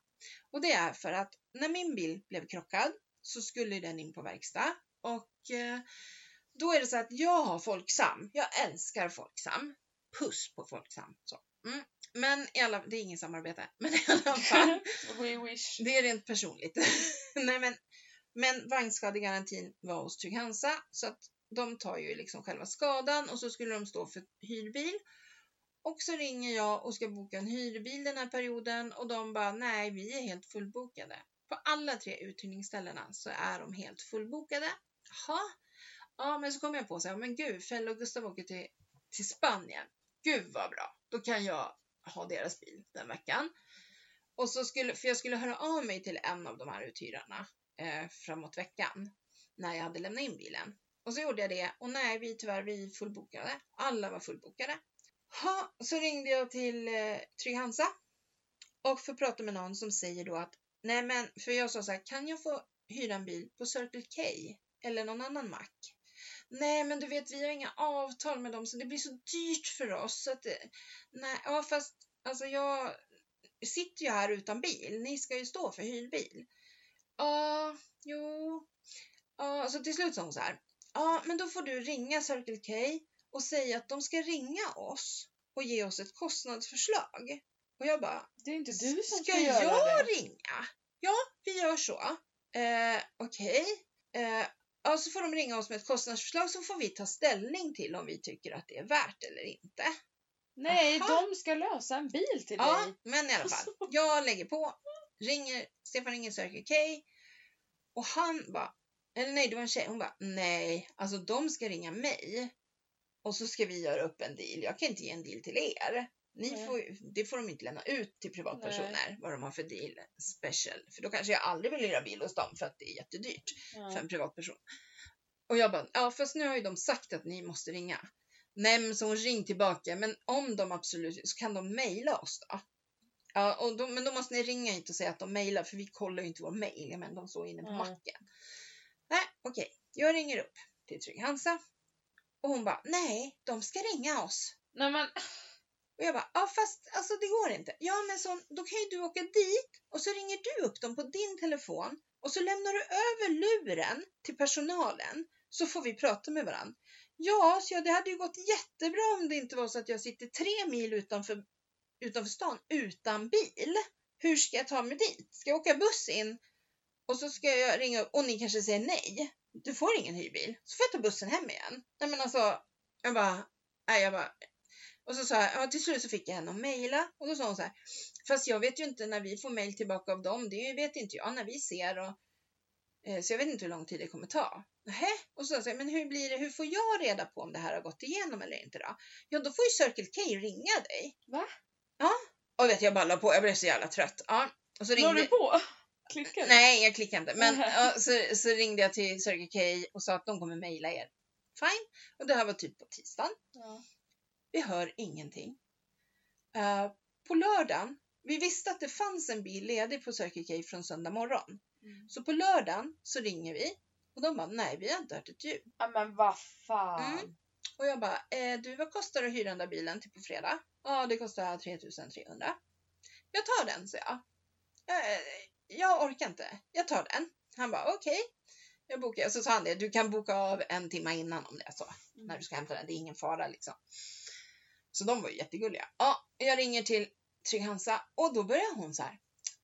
Speaker 1: Och det är för att när min bil blev krockad så skulle den in på verkstad och eh, då är det så att jag har Folksam. Jag älskar Folksam. Puss på Folksam. Så. Mm. Men i alla, det är inget samarbete. Men i alla fall.
Speaker 3: We wish.
Speaker 1: Det är rent personligt. Nej, men, men vagnskadegarantin var hos Trygg-Hansa så att de tar ju liksom själva skadan och så skulle de stå för hyrbil. Och så ringer jag och ska boka en hyrbil den här perioden och de bara nej, vi är helt fullbokade. På alla tre uthyrningsställena så är de helt fullbokade. Jaha. Ja, men så kom jag på så här, men gud, Fäll och Gustav åker till, till Spanien. Gud vad bra, då kan jag ha deras bil den veckan. Och så skulle, för jag skulle höra av mig till en av de här uthyrarna eh, framåt veckan när jag hade lämnat in bilen. Och så gjorde jag det och nej, vi tyvärr, vi är fullbokade. Alla var fullbokade. Ha, så ringde jag till eh, Trygg-Hansa och får prata med någon som säger då att nej men, för jag sa så här, kan jag få hyra en bil på Circle K eller någon annan mack? Nej, men du vet, vi har inga avtal med dem så det blir så dyrt för oss. Så att, eh, nej, ja, fast alltså jag sitter ju här utan bil. Ni ska ju stå för hyrbil. Ja, jo. Ja, så till slut sa hon så här. Ja, men då får du ringa Circle K och säga att de ska ringa oss och ge oss ett kostnadsförslag. Och jag bara,
Speaker 3: Det är inte du som ska,
Speaker 1: ska
Speaker 3: göra
Speaker 1: jag
Speaker 3: det.
Speaker 1: ringa? Ja, vi gör så. Eh, Okej. Eh, ja, så får de ringa oss med ett kostnadsförslag så får vi ta ställning till om vi tycker att det är värt eller inte.
Speaker 3: Nej,
Speaker 1: Aha.
Speaker 3: de ska lösa en bil till
Speaker 1: Ja,
Speaker 3: dig.
Speaker 1: men i alla fall. Jag lägger på, ringer, Stefan ringer Circle K och han bara, eller nej det var en tjej, hon bara nej, alltså de ska ringa mig och så ska vi göra upp en deal. Jag kan inte ge en deal till er. Ni
Speaker 3: Nej.
Speaker 1: får, ju- det får de inte lämna ut till privatpersoner vad de har för deal special. För då kanske jag aldrig vill hyra bil hos dem för att det är jättedyrt för
Speaker 3: Ja.
Speaker 1: en privatperson. Och jag bara, ja fast nu har ju de sagt att ni måste ringa. Nej men så hon ring tillbaka, men om de absolut så kan de mejla oss då. Ja, och då, men då måste ni ringa hit och säga att de mejlar för vi kollar ju inte vår mejl, men de står inne på
Speaker 3: Mm.
Speaker 1: macken. Nej, okej, jag ringer upp till Trygg-Hansa och hon bara, nej, de ska ringa oss.
Speaker 3: Nej men,
Speaker 1: Och jag bara, ja fast alltså det går inte. Ja men så, då kan ju du åka dit och så ringer du upp dem på din telefon och så lämnar du över luren till personalen så får vi prata med varandra. Ja, så jag, det hade ju gått jättebra om det inte var så att jag sitter tre mil utanför, utanför stan utan bil. Hur ska jag ta mig dit? Ska jag åka buss in och så ska jag ringa upp och ni kanske säger nej. Du får ingen hyrbil. Så får jag ta bussen hem igen. Nej men alltså, jag bara, nej jag bara, Och så sa jag, ja, till slut så fick jag henne att mejla och då sa hon så här, fast jag vet ju inte när vi får mejl tillbaka av dem, det vet inte jag när vi ser och eh, så jag vet inte hur lång tid det kommer ta. Nähä? Och så sa jag, men hur blir det, hur får jag reda på om det här har gått igenom eller inte då? Ja, då får ju Circle K ringa dig.
Speaker 3: Va?
Speaker 1: Ja. Och vet jag bara la på, jag blev så jävla trött. Ja. Och så
Speaker 3: La
Speaker 1: ringde...
Speaker 3: du på? Klickade?
Speaker 1: Nej, jag klickade inte. Men
Speaker 3: Nej.
Speaker 1: ja, så, så ringde jag till Circle K och sa att de kommer mejla er. Fine. Och det här var typ på tisdagen.
Speaker 3: Ja.
Speaker 1: Vi hör ingenting. Eh, på lördagen, vi visste att det fanns en bil ledig på Circle K från söndag morgon.
Speaker 3: Mm.
Speaker 1: Så på lördagen så ringer vi och de bara, nej vi har inte hört ett ljud.
Speaker 3: Ja men vad fan.
Speaker 1: Mm. Och jag bara, eh, du vad kostar det att hyra den där bilen till på fredag? Ja, det kostar 3300. Jag tar den, sa jag. Eh, jag orkar inte, jag tar den. Han bara, okej. Jag bokar, så sa han det, du kan boka av en timme innan om det är så när du ska hämta den. Det är ingen fara liksom. Så de var ju jättegulliga. Ja, jag ringer till Trygg-Hansa och då börjar hon så här.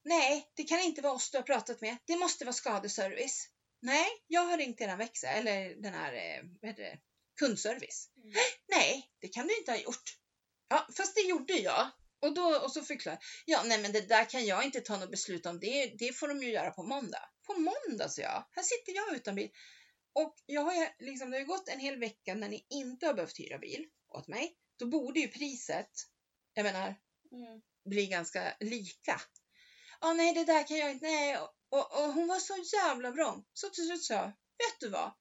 Speaker 1: Nej, det kan inte vara oss du har pratat med. Det måste vara skadeservice. Nej, jag har ringt eran växel, eller den här, eh, vad heter det, kundservice.
Speaker 3: Mm.
Speaker 1: Nej, det kan du inte ha gjort. Ja, fast det gjorde jag. Och, då, och så förklarar Ja, nej men det där kan jag inte ta något beslut om. Det, det får de ju göra på måndag. På måndag, så jag. Här sitter jag utan bil. Och jag har ju, liksom, det har ju gått en hel vecka när ni inte har behövt hyra bil åt mig. Då borde ju priset, jag menar,
Speaker 3: Mm.
Speaker 1: bli ganska lika. Ja, nej, det där kan jag inte, nej. Och, och, och hon var så jävla bra. Så till slut sa jag, vet du vad?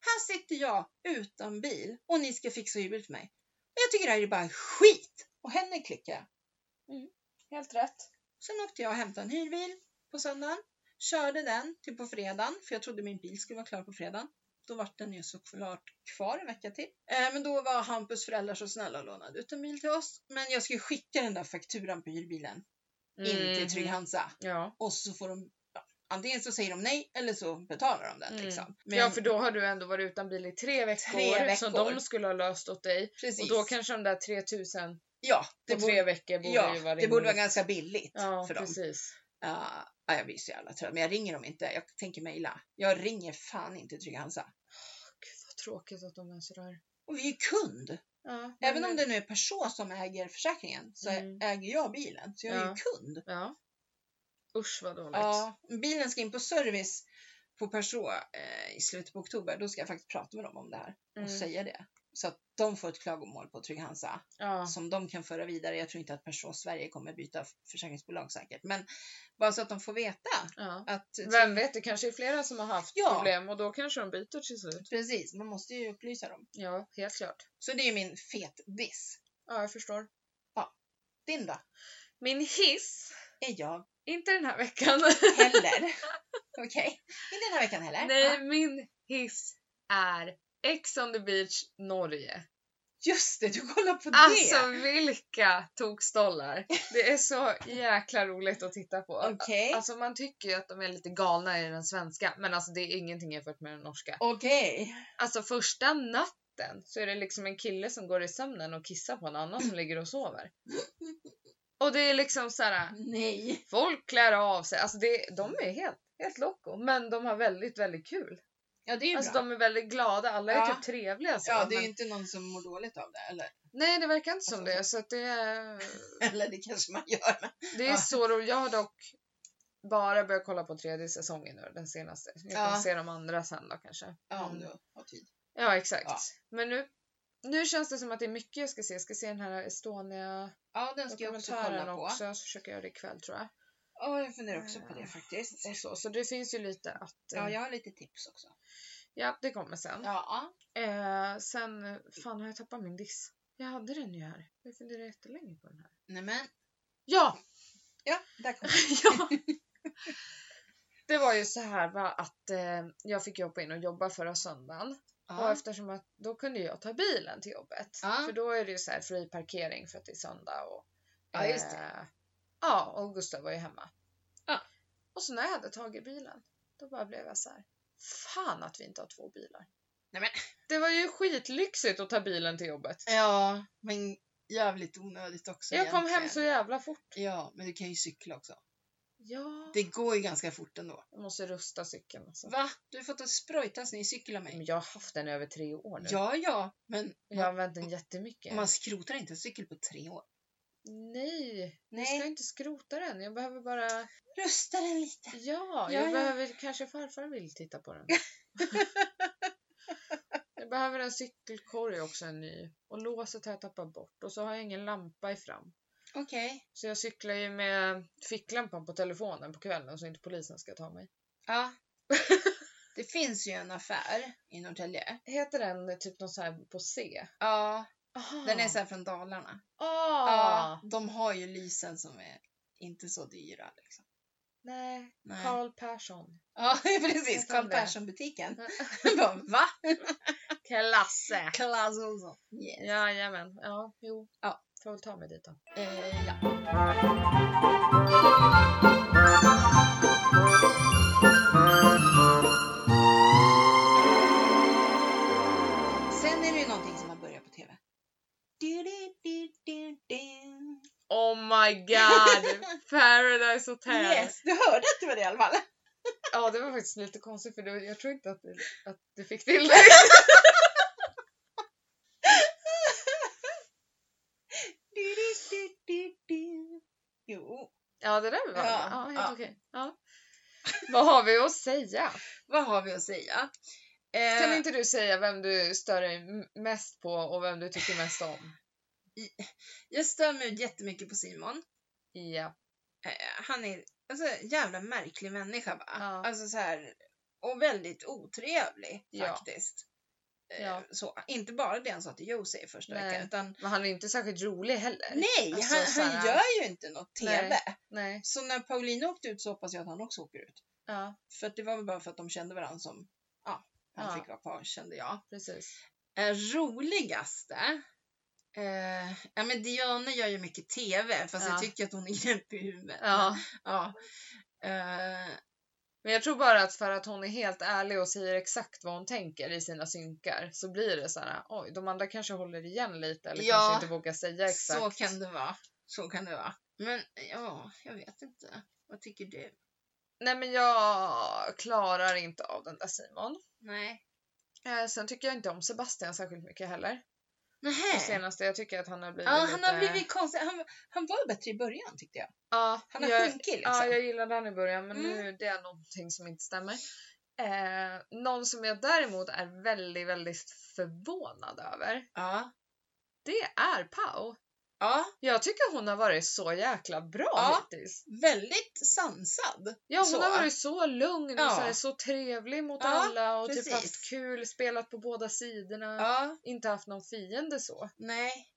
Speaker 1: Här sitter jag utan bil och ni ska fixa hybel för mig. Och jag tycker det här är bara skit! Och henne klickar jag.
Speaker 3: Helt rätt.
Speaker 1: Sen åkte jag och hämtade en hyrbil på söndagen. Körde den till på fredagen, för jag trodde min bil skulle vara klar på fredagen. Då var den ju såklart kvar en vecka till. Eh, men då var Hampus föräldrar så snälla och lånade ut en bil till oss. Men jag skulle skicka den där fakturan på hyrbilen in
Speaker 2: Mhm.
Speaker 1: till Trygg-Hansa.
Speaker 2: Mm. Ja.
Speaker 1: Och så får de, ja, antingen så säger de nej eller så betalar de den.
Speaker 2: Mm.
Speaker 1: Liksom.
Speaker 2: ja, för då har du ändå varit utan bil i tre veckor,
Speaker 1: Tre
Speaker 2: som
Speaker 1: veckor.
Speaker 2: de skulle ha löst åt dig.
Speaker 1: precis.
Speaker 2: Och då kanske de där 3000
Speaker 1: ja, det
Speaker 2: på
Speaker 1: borde,
Speaker 2: tre veckor borde
Speaker 1: ja,
Speaker 2: ju vara
Speaker 1: det borde vara
Speaker 2: rimligt.
Speaker 1: ganska billigt
Speaker 2: Ja,
Speaker 1: för dem.
Speaker 2: precis.
Speaker 1: Ja, ja, jag blir så jävla trött. Men jag ringer dem inte. Jag tänker mejla. Jag ringer fan inte Trygg-Hansa.
Speaker 2: Gud vad tråkigt att de är sådär.
Speaker 1: Och vi är ju kund.
Speaker 2: Ja,
Speaker 1: Även
Speaker 2: men-
Speaker 1: om det nu är Peugeot som äger försäkringen så
Speaker 2: Mm.
Speaker 1: äger jag bilen. Så jag är ju
Speaker 2: Ja.
Speaker 1: kund.
Speaker 2: Ja. Usch vad dåligt.
Speaker 1: Ja, bilen ska in på service på Peugeot eh, i slutet på oktober. Då ska jag faktiskt prata med dem om det här och
Speaker 2: Mm.
Speaker 1: säga det. Så att de får ett klagomål på Trygg-Hansa
Speaker 2: Ja.
Speaker 1: som de kan föra vidare. Jag tror inte att Peugeot Sverige kommer byta försäkringsbolag säkert. Men bara så att de får veta
Speaker 2: ja.
Speaker 1: att
Speaker 2: Vem vet, det kanske är flera som har haft
Speaker 1: Ja.
Speaker 2: problem och då kanske de byter till slut.
Speaker 1: Precis, man måste ju upplysa dem.
Speaker 2: Ja, helt klart.
Speaker 1: Så det är min fet diss.
Speaker 2: Ja, jag förstår.
Speaker 1: Din då?
Speaker 2: Min hiss,
Speaker 1: Är jag
Speaker 2: inte den här veckan.
Speaker 1: heller. Okej, inte den här veckan heller.
Speaker 2: Nej,
Speaker 1: Ja,
Speaker 2: min hiss är Ex on the beach Norge.
Speaker 1: just det, du kollar på
Speaker 2: Alltså
Speaker 1: det.
Speaker 2: vilka tokstollar! Det är så jäkla roligt att titta på.
Speaker 1: Okej,
Speaker 2: Alltså man tycker ju att de är lite galna i den svenska men alltså det är ingenting jämfört med den norska.
Speaker 1: okej.
Speaker 2: Alltså första natten så är det liksom en kille som går i sömnen och kissar på en annan som ligger och sover. Och det är liksom så här.
Speaker 1: Nej.
Speaker 2: folk klär av sig, alltså det, de är helt, helt loco men de har väldigt, väldigt kul.
Speaker 1: Ja, det är ju
Speaker 2: Alltså
Speaker 1: bra.
Speaker 2: de är väldigt glada, alla är
Speaker 1: Ja.
Speaker 2: typ trevliga så.
Speaker 1: Ja, det är ju
Speaker 2: men,
Speaker 1: inte Alltså, någon som mår dåligt av det. Eller,
Speaker 2: Nej det verkar inte som det så att det är...
Speaker 1: eller det kanske man gör. Men...
Speaker 2: Det är
Speaker 1: Ja.
Speaker 2: så roligt. Jag har dock bara börjat kolla på tredje säsongen nu, den senaste. Jag kan
Speaker 1: Ja.
Speaker 2: se de andra sen då kanske.
Speaker 1: Ah. Ja, om
Speaker 2: Mm.
Speaker 1: du har tid.
Speaker 2: ja exakt.
Speaker 1: Ja.
Speaker 2: Men nu, nu känns det som att det är mycket jag ska se. Jag ska se den här Estonia
Speaker 1: Ja, den ska jag också kolla
Speaker 2: dokumentären
Speaker 1: på.
Speaker 2: också. Eh. Jag ska försöka göra det ikväll tror jag.
Speaker 1: Ja, jag funderar också på det faktiskt.
Speaker 2: Och så. så det finns ju lite att...
Speaker 1: Ja,
Speaker 2: eh,
Speaker 1: jag har lite tips också.
Speaker 2: ja, det kommer sen.
Speaker 1: Ja,
Speaker 2: Eh, sen, eh, fan har jag tappat min diss? Jag hade den ju här. Jag funderade jättelänge på den här.
Speaker 1: nej men.
Speaker 2: Ja!
Speaker 1: Ja, där kom
Speaker 2: ja. Det var ju så här va, att eh, jag fick ju hoppa in och jobba förra söndagen. Och
Speaker 1: ja.
Speaker 2: eftersom att då kunde jag ta bilen till jobbet.
Speaker 1: Ja.
Speaker 2: För då är det ju så här fri parkering för att det är söndag. Och,
Speaker 1: Ja, just det.
Speaker 2: Eh, ja, och Gustav var ju hemma.
Speaker 1: Ja.
Speaker 2: Och så när jag hade tagit bilen, då bara blev jag så här. Fan att vi inte har två bilar.
Speaker 1: Nej, men.
Speaker 2: Det var ju skitlyxigt att ta bilen till jobbet.
Speaker 1: ja, men jävligt onödigt också
Speaker 2: jag kom hem
Speaker 1: egentligen.
Speaker 2: så jävla fort.
Speaker 1: Ja, men du kan ju cykla också.
Speaker 2: Ja.
Speaker 1: Det går ju ganska fort ändå.
Speaker 2: Jag måste rusta cykeln alltså.
Speaker 1: Va? Du har fått en spröjtas ny cykel av mig.
Speaker 2: Men jag har haft den i över tre år nu.
Speaker 1: Mm, Ja, ja, men
Speaker 2: Jag har använt den jättemycket.
Speaker 1: man skrotar inte en cykel på tre år.
Speaker 2: Nej, jag
Speaker 1: Nej,
Speaker 2: ska inte skrota den. Jag behöver bara...
Speaker 1: rusta den lite.
Speaker 2: Ja,
Speaker 1: Ja,
Speaker 2: jag
Speaker 1: ja.
Speaker 2: behöver... Kanske farfar vill titta på den. jag behöver en cykelkorg också, en ny. Och låset har jag tappat bort. Och så har jag ingen lampa i fram.
Speaker 1: Okej.
Speaker 2: Så jag cyklar ju med ficklampan på telefonen på kvällen så inte polisen ska ta mig.
Speaker 1: Ja. Det finns ju en affär i Norrtälje.
Speaker 2: Heter den typ något så här på C?
Speaker 1: Ja,
Speaker 2: Aha.
Speaker 1: den är så här från Dalarna.
Speaker 2: Ah.
Speaker 1: Ja, de har ju lysen som är inte så dyra. Liksom.
Speaker 2: Nej,
Speaker 1: Nej.
Speaker 2: Carl Persson.
Speaker 1: Ja,
Speaker 2: Heter
Speaker 1: precis.
Speaker 2: den
Speaker 1: Carl
Speaker 2: det?
Speaker 1: Persson-butiken. Bara, Va?
Speaker 2: Klasse!
Speaker 1: Klas Olsson. Yeah.
Speaker 2: Jajamän. Ja, jo.
Speaker 1: Ja.
Speaker 2: Får väl ta mig dit då.
Speaker 1: Eh, ja. Sen är det ju någonting som har börjat på TV. Du, du, du, du, du.
Speaker 2: Oh my god! Paradise Hotel!
Speaker 1: Yes, du hörde att det var det i alla fall.
Speaker 2: Ja, det var faktiskt lite konstigt för det, jag tror inte att, det- att du fick till det.
Speaker 1: Du, du, du, du, du. Jo,
Speaker 2: Ja, det där var
Speaker 1: Ja,
Speaker 2: ja, ja, helt
Speaker 1: ja.
Speaker 2: okej. Ja. Vad har vi att säga?
Speaker 1: vad har vi att säga? Eh,
Speaker 2: Kan inte du säga vem du stör dig m- mest på och vem du tycker mest om?
Speaker 1: Jag stör mig jättemycket på Simon.
Speaker 2: Ja.
Speaker 1: Eh, han är alltså, en jävla märklig människa va?
Speaker 2: Ja.
Speaker 1: Alltså så här, och väldigt otrevlig
Speaker 2: Ja.
Speaker 1: faktiskt. Eh,
Speaker 2: Ja.
Speaker 1: Så, inte bara det han sa till Josie i första
Speaker 2: Nej.
Speaker 1: veckan utan
Speaker 2: Men han är inte särskilt rolig heller.
Speaker 1: nej,
Speaker 2: Alltså,
Speaker 1: han,
Speaker 2: så här-
Speaker 1: han gör ju inte något TV.
Speaker 2: Nej.
Speaker 1: Så när Pauline åkte ut så hoppas jag att han också åker ut.
Speaker 2: Ja,
Speaker 1: För att det var väl bara för att de kände varandra som, ja, han
Speaker 2: Ja.
Speaker 1: fick vara kvar kände jag.
Speaker 2: precis.
Speaker 1: Eh, roligaste? Eh, ja men Diana gör ju mycket TV fast jag
Speaker 2: Ja.
Speaker 1: tycker att hon är knäpp i huvudet.
Speaker 2: Ja.
Speaker 1: Ja. Eh,
Speaker 2: Men jag tror bara att för att hon är helt ärlig och säger exakt vad hon tänker i sina synkar så blir det så här, oj, de andra kanske håller igen lite eller
Speaker 1: Ja,
Speaker 2: kanske inte vågar säga exakt.
Speaker 1: Så kan det vara. Så kan det vara. Men ja, jag vet inte. Vad tycker du?
Speaker 2: Nej men jag klarar inte av den där Simon.
Speaker 1: Nej.
Speaker 2: Eh, sen tycker jag inte om Sebastian särskilt mycket heller. Det
Speaker 1: Nähä.
Speaker 2: senaste, jag tycker att han har blivit
Speaker 1: Ja,
Speaker 2: lite...
Speaker 1: han har blivit konstig. Han, han var bättre i början tyckte jag.
Speaker 2: Ja,
Speaker 1: Han har
Speaker 2: jag,
Speaker 1: sjunkit liksom.
Speaker 2: ja, jag gillade han i början men
Speaker 1: Mm.
Speaker 2: nu det är någonting som inte stämmer. Eh, någon som jag däremot är väldigt, väldigt förvånad över,
Speaker 1: ja.
Speaker 2: det är Pau.
Speaker 1: ja.
Speaker 2: Jag tycker hon har varit så jäkla bra
Speaker 1: Ja.
Speaker 2: hittills.
Speaker 1: Väldigt sansad.
Speaker 2: Ja, hon
Speaker 1: Så.
Speaker 2: har varit så lugn
Speaker 1: Ja.
Speaker 2: och så, här, så trevlig mot
Speaker 1: Ja,
Speaker 2: alla och
Speaker 1: precis.
Speaker 2: typ haft kul, spelat på båda sidorna.
Speaker 1: Ja.
Speaker 2: Inte haft någon fiende så.
Speaker 1: Nej.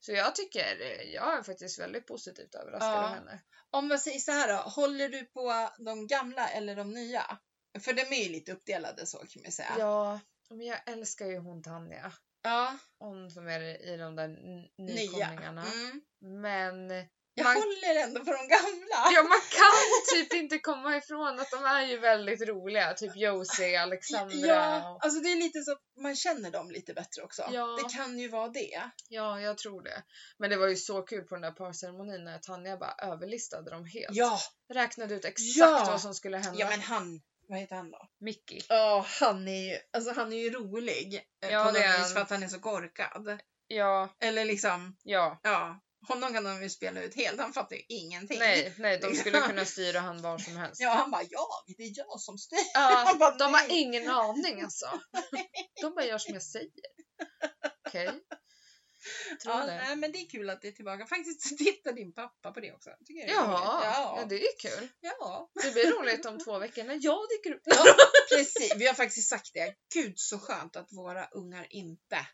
Speaker 2: Så jag tycker, eh, jag är faktiskt väldigt positivt överraskad
Speaker 1: Ja.
Speaker 2: av henne.
Speaker 1: Om man säger så här då. Håller du på de gamla eller de nya? För de är ju lite uppdelade så kan man säga.
Speaker 2: Ja. men jag älskar ju hon Tanja.
Speaker 1: Ja.
Speaker 2: Hon som är i de där n-
Speaker 1: Nya.
Speaker 2: nykomlingarna.
Speaker 1: Mm.
Speaker 2: Men
Speaker 1: Jag
Speaker 2: Man-
Speaker 1: håller ändå på de gamla.
Speaker 2: ja, man kan typ inte komma ifrån att de är ju väldigt roliga. Typ Josie, Alexandra.
Speaker 1: Ja,
Speaker 2: och-
Speaker 1: alltså det är lite så man känner dem lite bättre också.
Speaker 2: Ja.
Speaker 1: Det kan ju vara det.
Speaker 2: ja, jag tror det. Men det var ju så kul på den där parceremonin när Tanja bara överlistade dem helt.
Speaker 1: Ja,
Speaker 2: räknade ut exakt
Speaker 1: Ja.
Speaker 2: vad som skulle hända.
Speaker 1: ja men han, vad heter han då?
Speaker 2: Mickey.
Speaker 1: Ja, han är ju, alltså han är ju rolig eh,
Speaker 2: Ja,
Speaker 1: på
Speaker 2: det är
Speaker 1: något
Speaker 2: han.
Speaker 1: vis för att han är så korkad.
Speaker 2: Ja,
Speaker 1: Eller liksom,
Speaker 2: ja.
Speaker 1: ja, honom kan de ju spela ut helt, han fattar ju ingenting.
Speaker 2: Nej, nej, de skulle kunna styra han var som helst.
Speaker 1: Ja, han bara jag, det är jag som styr.
Speaker 2: Ja,
Speaker 1: Han bara,
Speaker 2: de har
Speaker 1: nej.
Speaker 2: ingen aning alltså. De bara gör som jag säger. Okej. Tror
Speaker 1: Ja,
Speaker 2: det.
Speaker 1: nej, men det är kul att det är tillbaka. Faktiskt tittar din pappa på det också. Jag Tycker det är
Speaker 2: Jaha,
Speaker 1: roligt.
Speaker 2: ja,
Speaker 1: ja.
Speaker 2: det är kul.
Speaker 1: ja.
Speaker 2: Det blir roligt om två veckor när jag dyker upp.
Speaker 1: Ja, precis. Vi har faktiskt sagt det. Gud så skönt att våra ungar inte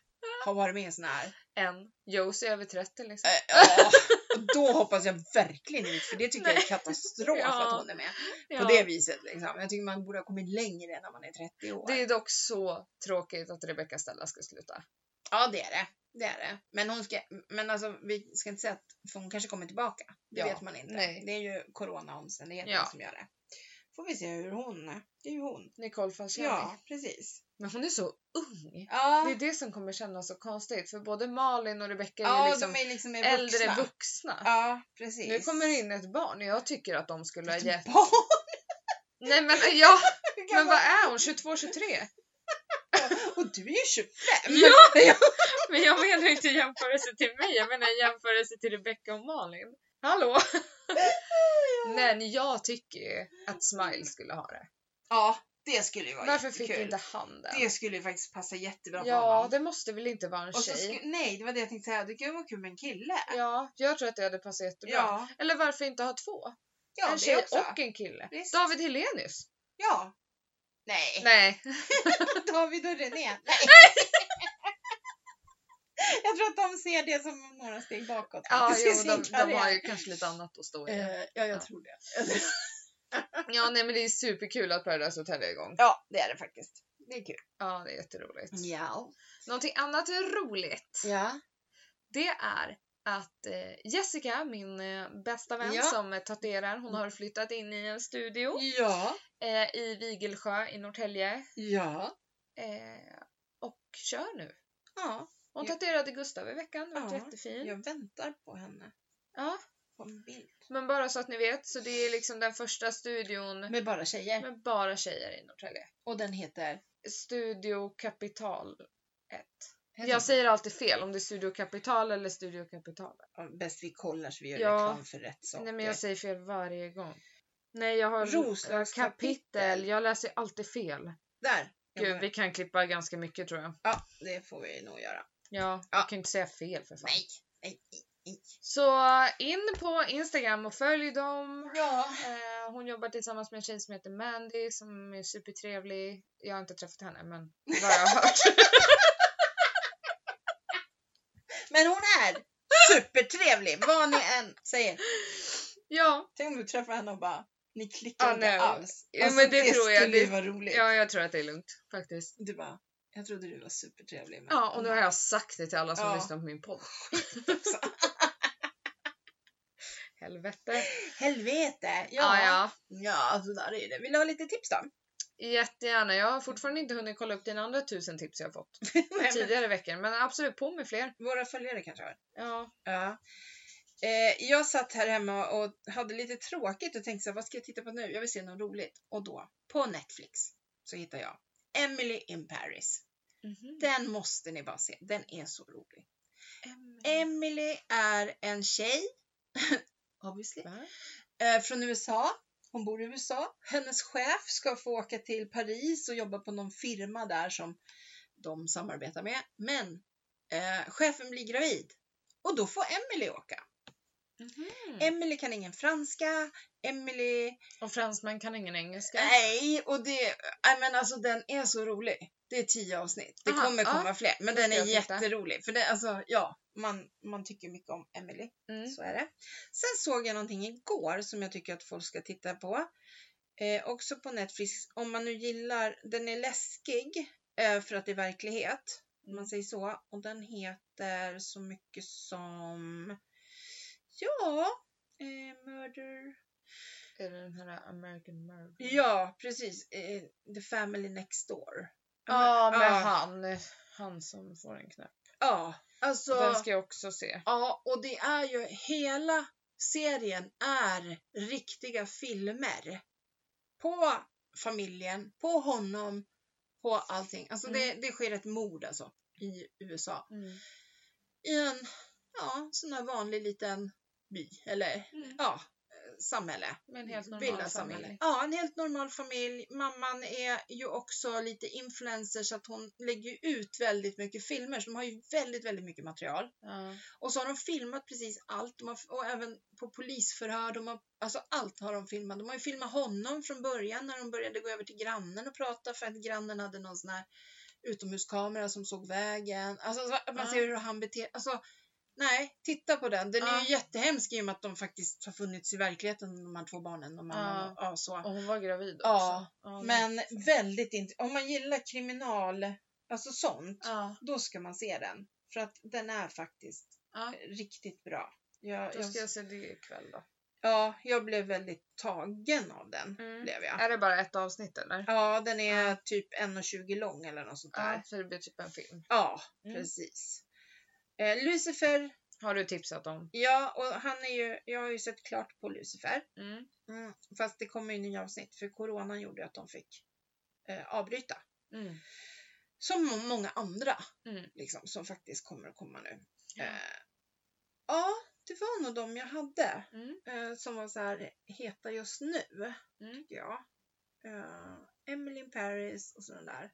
Speaker 1: har varit med i såna här.
Speaker 2: En. Josie är över 30 liksom.
Speaker 1: Äh, ja. Och då hoppas jag verkligen inte, för det tycker jag är katastrof
Speaker 2: Ja.
Speaker 1: att hon är med
Speaker 2: Ja.
Speaker 1: på det viset. Liksom. Jag tycker man borde ha kommit längre när man är 30 år.
Speaker 2: det är dock så tråkigt att Rebecca Stella ska sluta.
Speaker 1: Ja, det är det. Det är det. Men, hon ska, men alltså, vi ska inte säga att för hon kanske kommer tillbaka. Det
Speaker 2: Ja,
Speaker 1: vet man inte.
Speaker 2: nej.
Speaker 1: Det är ju coronaomständigheterna
Speaker 2: Ja.
Speaker 1: som gör det. Får vi se hur hon är. Det är ju hon.
Speaker 2: Nicole Falciani.
Speaker 1: Ja, precis.
Speaker 2: Men hon är så ung.
Speaker 1: Ja,
Speaker 2: Det är det som kommer kännas så konstigt för både Malin och Rebecka är
Speaker 1: ja
Speaker 2: ju liksom
Speaker 1: de är liksom mer
Speaker 2: äldre
Speaker 1: vuxna.
Speaker 2: vuxna.
Speaker 1: Ja, precis.
Speaker 2: Nu kommer det in ett barn och jag tycker att de skulle ha gett...
Speaker 1: Barn!
Speaker 2: Nej men ja, men
Speaker 1: Men
Speaker 2: vad är hon? 22, 23?
Speaker 1: Och du är ju 25!
Speaker 2: Ja! Men jag menar inte i jämförelse till mig, jag menar i jämförelse till Rebecca och Malin. Hallå! Men jag tycker ju att Smile skulle ha det.
Speaker 1: Ja, det skulle ju vara
Speaker 2: Varför fick
Speaker 1: jättekul.
Speaker 2: inte han den?
Speaker 1: Det skulle ju faktiskt passa jättebra på
Speaker 2: Ja,
Speaker 1: honom.
Speaker 2: det måste väl inte vara en
Speaker 1: Och så
Speaker 2: tjej?
Speaker 1: sku- nej, det var det jag tänkte säga. Det kan ju vara kul med en kille.
Speaker 2: Ja, jag tror att det hade passat jättebra.
Speaker 1: Ja,
Speaker 2: Eller varför inte ha två?
Speaker 1: ja
Speaker 2: en
Speaker 1: det
Speaker 2: tjej
Speaker 1: också.
Speaker 2: och en kille.
Speaker 1: Visst.
Speaker 2: David Helenius?
Speaker 1: Ja. Nej,
Speaker 2: Nej.
Speaker 1: David och René. Nej. jag tror att de ser det som några steg bakåt.
Speaker 2: Ja,
Speaker 1: faktiskt, i
Speaker 2: jo,
Speaker 1: sin
Speaker 2: de, de
Speaker 1: karriär.
Speaker 2: har ju kanske lite annat att stå i.
Speaker 1: Eh, ja, jag
Speaker 2: Ja.
Speaker 1: tror det.
Speaker 2: Ja, nej men det är superkul att Paradise Hotel är igång.
Speaker 1: Ja, det är det faktiskt. Det är kul.
Speaker 2: Ja, det är jätteroligt.
Speaker 1: Ja.
Speaker 2: Någonting annat roligt,
Speaker 1: Ja.
Speaker 2: det är att eh, Jessica, min eh, bästa vän
Speaker 1: Ja. Mm.
Speaker 2: som eh, tatuerar, hon har flyttat in i en studio
Speaker 1: Ja.
Speaker 2: eh, i Vigelsjö i Norrtälje
Speaker 1: Ja.
Speaker 2: eh, och kör nu.
Speaker 1: Ja.
Speaker 2: Hon
Speaker 1: Ja.
Speaker 2: tatuerade Gustav i veckan, det var
Speaker 1: Ja.
Speaker 2: jättefin.
Speaker 1: Jag väntar på henne.
Speaker 2: Ja.
Speaker 1: På en bild.
Speaker 2: Men bara så att ni vet, så det är liksom den första studion
Speaker 1: Med bara tjejer.
Speaker 2: med bara tjejer i Norrtälje.
Speaker 1: Och den heter?
Speaker 2: Studio Kapital 1.
Speaker 1: heter den?
Speaker 2: Jag säger alltid fel om det är Studio Kapital eller Studio Kapital.
Speaker 1: Ja, Bäst vi kollar så vi gör
Speaker 2: Ja.
Speaker 1: reklam för rätt saker.
Speaker 2: Nej men jag säger fel varje gång. Nej jag har
Speaker 1: Roslagskapitel.
Speaker 2: kapitel. Jag läser ju alltid fel.
Speaker 1: Där!
Speaker 2: Gud, vi kan klippa ganska mycket tror jag.
Speaker 1: Ja, det får vi nog göra.
Speaker 2: Ja,
Speaker 1: Ja.
Speaker 2: jag kan ju inte säga fel för fan.
Speaker 1: Nej, nej, nej, nej.
Speaker 2: Så in på Instagram och följ dem.
Speaker 1: Ja.
Speaker 2: Eh, hon jobbar tillsammans med en tjej som heter Mandy som är supertrevlig. Jag har inte träffat henne men vad jag har hört.
Speaker 1: Men hon är supertrevlig, vad ni än säger.
Speaker 2: Ja,
Speaker 1: Tänk om du träffar henne och bara, ni klickar
Speaker 2: Ah,
Speaker 1: inte
Speaker 2: nej.
Speaker 1: alls. Alltså,
Speaker 2: Ja, men det tror jag.
Speaker 1: skulle ju
Speaker 2: Det-
Speaker 1: vara roligt.
Speaker 2: ja, jag tror att det är lugnt faktiskt.
Speaker 1: Du bara, jag trodde du var supertrevlig. men-
Speaker 2: Ja, och nu har jag sagt det till alla som
Speaker 1: Ja.
Speaker 2: lyssnar på min podd. Helvete.
Speaker 1: Helvete!
Speaker 2: Ja,
Speaker 1: Ja,
Speaker 2: ja. ja.
Speaker 1: ja så där är det. Vill du ha lite tips då?
Speaker 2: Jättegärna. Jag har fortfarande inte hunnit kolla upp dina andra tusen tips jag har fått
Speaker 1: Nej, men
Speaker 2: tidigare veckor. Men absolut, på med fler.
Speaker 1: våra följare kanske har.
Speaker 2: Ja.
Speaker 1: Ja. Eh, jag satt här hemma och hade lite tråkigt och tänkte så här, vad ska jag titta på nu? Jag vill se något roligt. Och då, på Netflix, så hittar jag Emily in Paris.
Speaker 2: Mm-hmm.
Speaker 1: Den måste ni bara se. Den är så rolig.
Speaker 2: Em-
Speaker 1: Emily är en tjej, obviously,
Speaker 2: Va?
Speaker 1: eh, från USA. Hon bor i USA. Hennes chef ska få åka till Paris och jobba på någon firma där som de samarbetar med. Men eh, chefen blir gravid och då får Emily åka.
Speaker 2: Em-
Speaker 1: Emily kan ingen franska, Emily...
Speaker 2: Mm-hmm. Och fransmän kan ingen engelska.
Speaker 1: Nej, och det... Nej men alltså den är så rolig. Det är tio avsnitt. Det
Speaker 2: Aha,
Speaker 1: kommer
Speaker 2: ja.
Speaker 1: komma fler. Men
Speaker 2: Då
Speaker 1: den
Speaker 2: ska
Speaker 1: är
Speaker 2: jag titta.
Speaker 1: jätterolig. För det, alltså, ja, man, man tycker mycket om Emily.
Speaker 2: Mm.
Speaker 1: Så är det. Sen såg jag någonting igår som jag tycker att folk ska titta på. Eh, också på Netflix. Om man nu gillar, den är läskig eh, för att det är verklighet. Om
Speaker 2: Mm.
Speaker 1: man säger så. Och den heter så mycket som... Ja, eh, Murder...
Speaker 2: Är det den här American Murder?
Speaker 1: Ja, precis. Eh, The Family Next Door.
Speaker 2: Ja, med
Speaker 1: Ja.
Speaker 2: han. Han som får en knäpp.
Speaker 1: Ja, alltså...
Speaker 2: Den ska jag också se.
Speaker 1: Ja, och det är ju hela serien är riktiga filmer. På familjen, på honom, på allting. Alltså
Speaker 2: Mm.
Speaker 1: det, det sker ett mord alltså i USA. I en ja, sån här vanlig liten by eller
Speaker 2: Mm.
Speaker 1: ja, eh, samhälle.
Speaker 2: Men helt normal
Speaker 1: Villasamhälle.
Speaker 2: familj.
Speaker 1: Ja, en helt normal familj. Mamman är ju också lite influencer så att hon lägger ju ut väldigt mycket filmer. Så de har ju väldigt, väldigt mycket material.
Speaker 2: Ja.
Speaker 1: Och så har de filmat precis allt. De har, och även på polisförhör. De har, alltså allt har de filmat. De har ju filmat honom från början när de började gå över till grannen och prata för att grannen hade någon sån här utomhuskamera som såg vägen. Alltså så att man
Speaker 2: Ja.
Speaker 1: ser hur han beter Alltså nej, titta på den. Den är
Speaker 2: Ja.
Speaker 1: ju jättehemsk i och med att de faktiskt har funnits i verkligheten, de här två barnen och mamman.
Speaker 2: Ja.
Speaker 1: Och, ja, så.
Speaker 2: Och hon var gravid också.
Speaker 1: Ja,
Speaker 2: Ja,
Speaker 1: Men väldigt intressant. Om man gillar kriminal, alltså sånt,
Speaker 2: Ja.
Speaker 1: då ska man se den. För att den är faktiskt
Speaker 2: Ja.
Speaker 1: riktigt bra. Jag,
Speaker 2: Då
Speaker 1: jag,
Speaker 2: ska jag se det ikväll då.
Speaker 1: Ja, jag blev väldigt tagen av den.
Speaker 2: Mm.
Speaker 1: Blev jag.
Speaker 2: Är det bara ett avsnitt eller?
Speaker 1: Ja, den är
Speaker 2: Ja.
Speaker 1: typ 1,20 lång eller något sånt där.
Speaker 2: Ja, så det blir typ en film.
Speaker 1: Ja,
Speaker 2: Mm.
Speaker 1: precis. Eh, Lucifer,
Speaker 2: Har du tipsat om?
Speaker 1: ja, och han är ju, jag har ju sett klart på Lucifer.
Speaker 2: Mm.
Speaker 1: Fast det kommer ju nya avsnitt för coronan gjorde ju att de fick eh, avbryta.
Speaker 2: Mm.
Speaker 1: Som må- många andra
Speaker 2: Mm.
Speaker 1: liksom, som faktiskt kommer att komma nu.
Speaker 2: Ja.
Speaker 1: Ja, eh, ja det var nog de jag hade
Speaker 2: Mm.
Speaker 1: eh, som var så här heta just nu.
Speaker 2: Mm.
Speaker 1: Tycker jag. Eh, Emily in Paris och sådana där.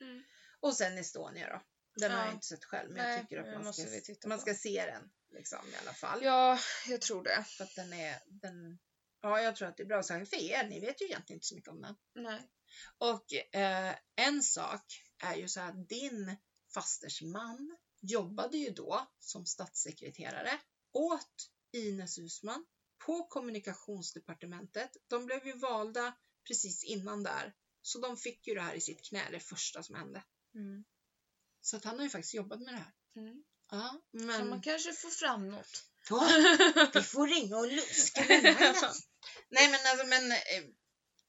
Speaker 2: Mm.
Speaker 1: Och sen Estonia då. Den har
Speaker 2: Ja.
Speaker 1: jag inte sett själv men
Speaker 2: Nej,
Speaker 1: jag tycker
Speaker 2: men
Speaker 1: att man
Speaker 2: måste
Speaker 1: ska,
Speaker 2: vi titta
Speaker 1: man
Speaker 2: på.
Speaker 1: ska se den liksom, i alla fall.
Speaker 2: Ja, jag tror det.
Speaker 1: För att den är, den, ja, jag tror att det är bra saker för er. Ni vet ju egentligen inte så mycket om den.
Speaker 2: Nej.
Speaker 1: Och eh, en sak är ju så här att din fasters man jobbade ju då som statssekreterare åt Ines Husman på kommunikationsdepartementet. De blev ju valda precis innan där, så de fick ju det här i sitt knä, det första som hände.
Speaker 2: Mm.
Speaker 1: Så att han har ju faktiskt jobbat med det här.
Speaker 2: Mm.
Speaker 1: Ja,
Speaker 2: Så
Speaker 1: men...
Speaker 2: man kanske får fram något.
Speaker 1: Ja, vi får ringa och luska med honom. Nej men alltså men, eh,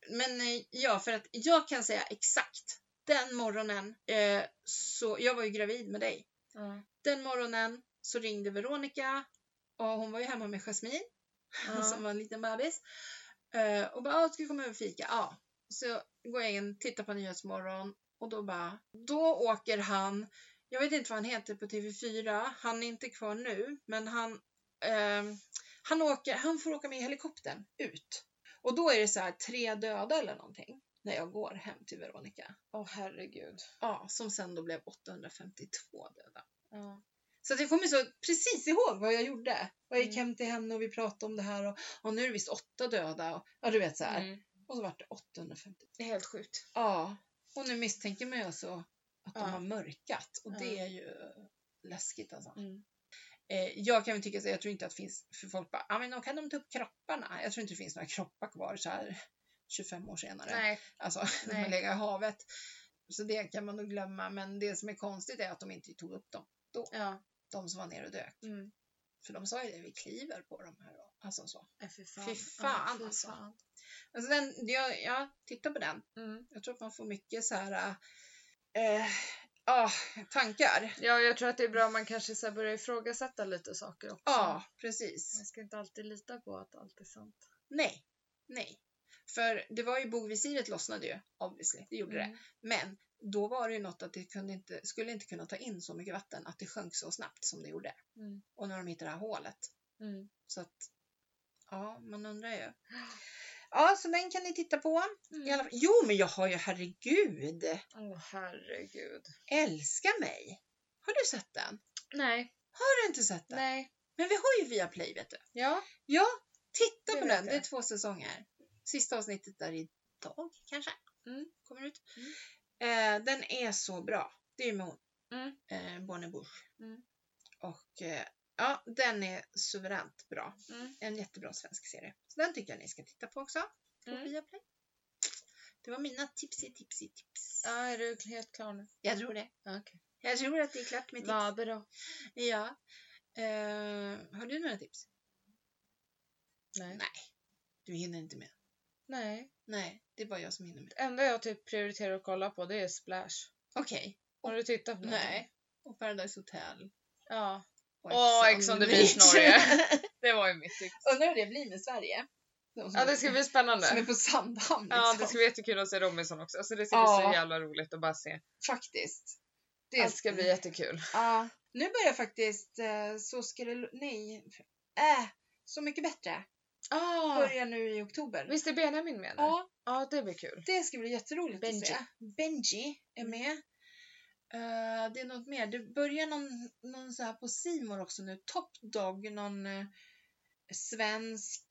Speaker 1: men eh, ja för att jag kan säga exakt den morgonen eh, så jag var ju gravid med dig.
Speaker 2: ja.
Speaker 1: Den morgonen så ringde Veronica och hon var ju hemma med Jasmine som
Speaker 2: Ja.
Speaker 1: var en liten bebis eh, och bara "Ah, ska vi komma över och fika? Ja. Så går jag in, tittar på Nyhetsmorgon och då bara då åker han jag vet inte vad han heter på TV4 han är inte kvar nu men han ehm, han, åker, han får åka med helikoptern ut. Och då är det så här tre döda eller någonting när jag går hem till Veronica.
Speaker 2: Åh herregud.
Speaker 1: Ja, som sen då blev 852 döda.
Speaker 2: Ja.
Speaker 1: Så att jag kommer så precis ihåg vad jag gjorde. Och jag gick
Speaker 2: Mm.
Speaker 1: hem till henne och vi pratade om det här och, och nu är det visst åtta döda. Och, ja, du vet så här.
Speaker 2: Mm.
Speaker 1: Och så vart det 850.
Speaker 2: Det är helt sjukt.
Speaker 1: Ja, och nu misstänker man ju alltså att
Speaker 2: Ja.
Speaker 1: de har mörkat och det
Speaker 2: Ja.
Speaker 1: är ju läskigt alltså.
Speaker 2: Mm.
Speaker 1: Eh, jag kan väl tycka så, jag tror inte att det finns, för folk bara, ja men då kan de ta upp kropparna. Jag tror inte det finns några kroppar kvar så här 25 år senare.
Speaker 2: Nej.
Speaker 1: Alltså när
Speaker 2: Nej.
Speaker 1: man lägger i havet. Så det kan man nog glömma, men det som är konstigt är att de inte tog upp dem.
Speaker 2: Ja.
Speaker 1: De som var nere och dök.
Speaker 2: Mm.
Speaker 1: För de sa ju det, vi kliver på de här. då." Alltså så.
Speaker 2: Äh, fy fan.
Speaker 1: Fy fan,
Speaker 2: ja, fy
Speaker 1: alltså.
Speaker 2: fan.
Speaker 1: Alltså den, jag, jag tittar på den.
Speaker 2: Mm.
Speaker 1: Jag tror att man får mycket så här, eh, ah, tankar.
Speaker 2: Ja, jag tror att det är bra om man kanske så här börjar ifrågasätta lite saker också.
Speaker 1: Ja, precis.
Speaker 2: Man ska inte alltid lita på att allt är sant.
Speaker 1: Nej, nej. För det var ju bogvisiret lossnade ju, obviously. Det gjorde det.
Speaker 2: Mm.
Speaker 1: Men då var det ju något att det kunde inte, skulle inte kunna ta in så mycket vatten att det sjönk så snabbt som det gjorde.
Speaker 2: Mm.
Speaker 1: Och nu har de hittat det här hålet.
Speaker 2: Mm.
Speaker 1: Så att, ja, man undrar ju. Ja, så den kan ni titta på. I alla fall. Jo, men jag har ju, herregud,
Speaker 2: Mm. Åh herregud.
Speaker 1: älska mig. Har du sett den?
Speaker 2: Nej.
Speaker 1: Har du inte sett den?
Speaker 2: Nej.
Speaker 1: Men vi har ju Viaplay, vet du.
Speaker 2: Ja.
Speaker 1: Ja, titta
Speaker 2: Det
Speaker 1: på
Speaker 2: vet
Speaker 1: den. Det är
Speaker 2: jag.
Speaker 1: två säsonger. Sista avsnittet där idag kanske.
Speaker 2: Mm.
Speaker 1: Kommer ut.
Speaker 2: Mm.
Speaker 1: Eh, den är så bra. Det är ju med hon.
Speaker 2: Mm.
Speaker 1: Eh, Bonnie Bush.
Speaker 2: Mm.
Speaker 1: Och eh, ja, den är suveränt bra.
Speaker 2: Mm.
Speaker 1: En jättebra svensk serie. Så den tycker jag ni ska titta på också. På
Speaker 2: Mm.
Speaker 1: Viaplay. Det var mina tipsy tipsy tips.
Speaker 2: Ja, är du helt klar nu?
Speaker 1: Jag tror det.
Speaker 2: Ja, Okej.
Speaker 1: Jag tror att det är klart med tips.
Speaker 2: Vad bra.
Speaker 1: Ja. Eh, har du några tips?
Speaker 2: Nej.
Speaker 1: Du hinner inte med.
Speaker 2: Nej.
Speaker 1: Nej, det är bara jag som hinner med.
Speaker 2: Det enda jag typ prioriterar att kolla på det är Splash.
Speaker 1: Okej.
Speaker 2: Har du tittat på något?
Speaker 1: Nej. Och Paradise Hotel.
Speaker 2: Ja. Åh, Ex on the Beach Norge. Det var ju mitt tips.
Speaker 1: Undrar hur det blir med Sverige. De som
Speaker 2: Ja, det ska bli spännande.
Speaker 1: Som är på Sandhamn liksom.
Speaker 2: Ja, det ska bli jättekul att se Robinson också. Alltså, det ska bli
Speaker 1: Ja.
Speaker 2: så jävla roligt att bara se.
Speaker 1: Faktiskt. Det
Speaker 2: Det ska bli jättekul.
Speaker 1: Ja. Nu börjar faktiskt eh, Så ska det... lo- Nej. Äh, Så mycket bättre.
Speaker 2: Ah,
Speaker 1: Börjar nu i oktober.
Speaker 2: visst är Benjamin med nu? Ja,
Speaker 1: Ja,
Speaker 2: det blir kul.
Speaker 1: det ska bli jätteroligt
Speaker 2: Benji. Mm.
Speaker 1: att se. Benji är med. Eh, det är något mer. Det börjar någon, någon så här på Simor också nu. Top Dog, någon eh, svensk,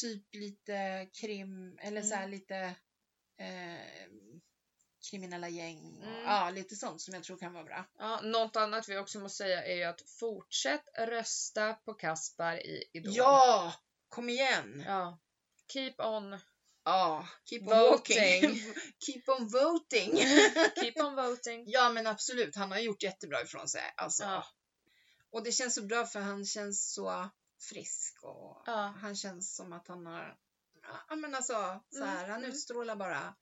Speaker 1: typ lite krim, eller så här
Speaker 2: Mm.
Speaker 1: lite eh, kriminella gäng. Och,
Speaker 2: Mm.
Speaker 1: Ja, lite sånt som jag tror kan vara bra.
Speaker 2: Ja, något annat vi också måste säga är ju att fortsätt rösta på Kaspar i Idol.
Speaker 1: Ja! Kom igen! Ja,
Speaker 2: ja. Keep on,
Speaker 1: keep on
Speaker 2: Voting.
Speaker 1: walking. keep on voting.
Speaker 2: keep on voting.
Speaker 1: ja, men absolut. Han har gjort jättebra ifrån sig. Alltså.
Speaker 2: Ja.
Speaker 1: Och det känns så bra för han känns så frisk och
Speaker 2: Ja.
Speaker 1: han känns som att han har, ja men alltså så här,
Speaker 2: Mm,
Speaker 1: han
Speaker 2: mm.
Speaker 1: utstrålar bara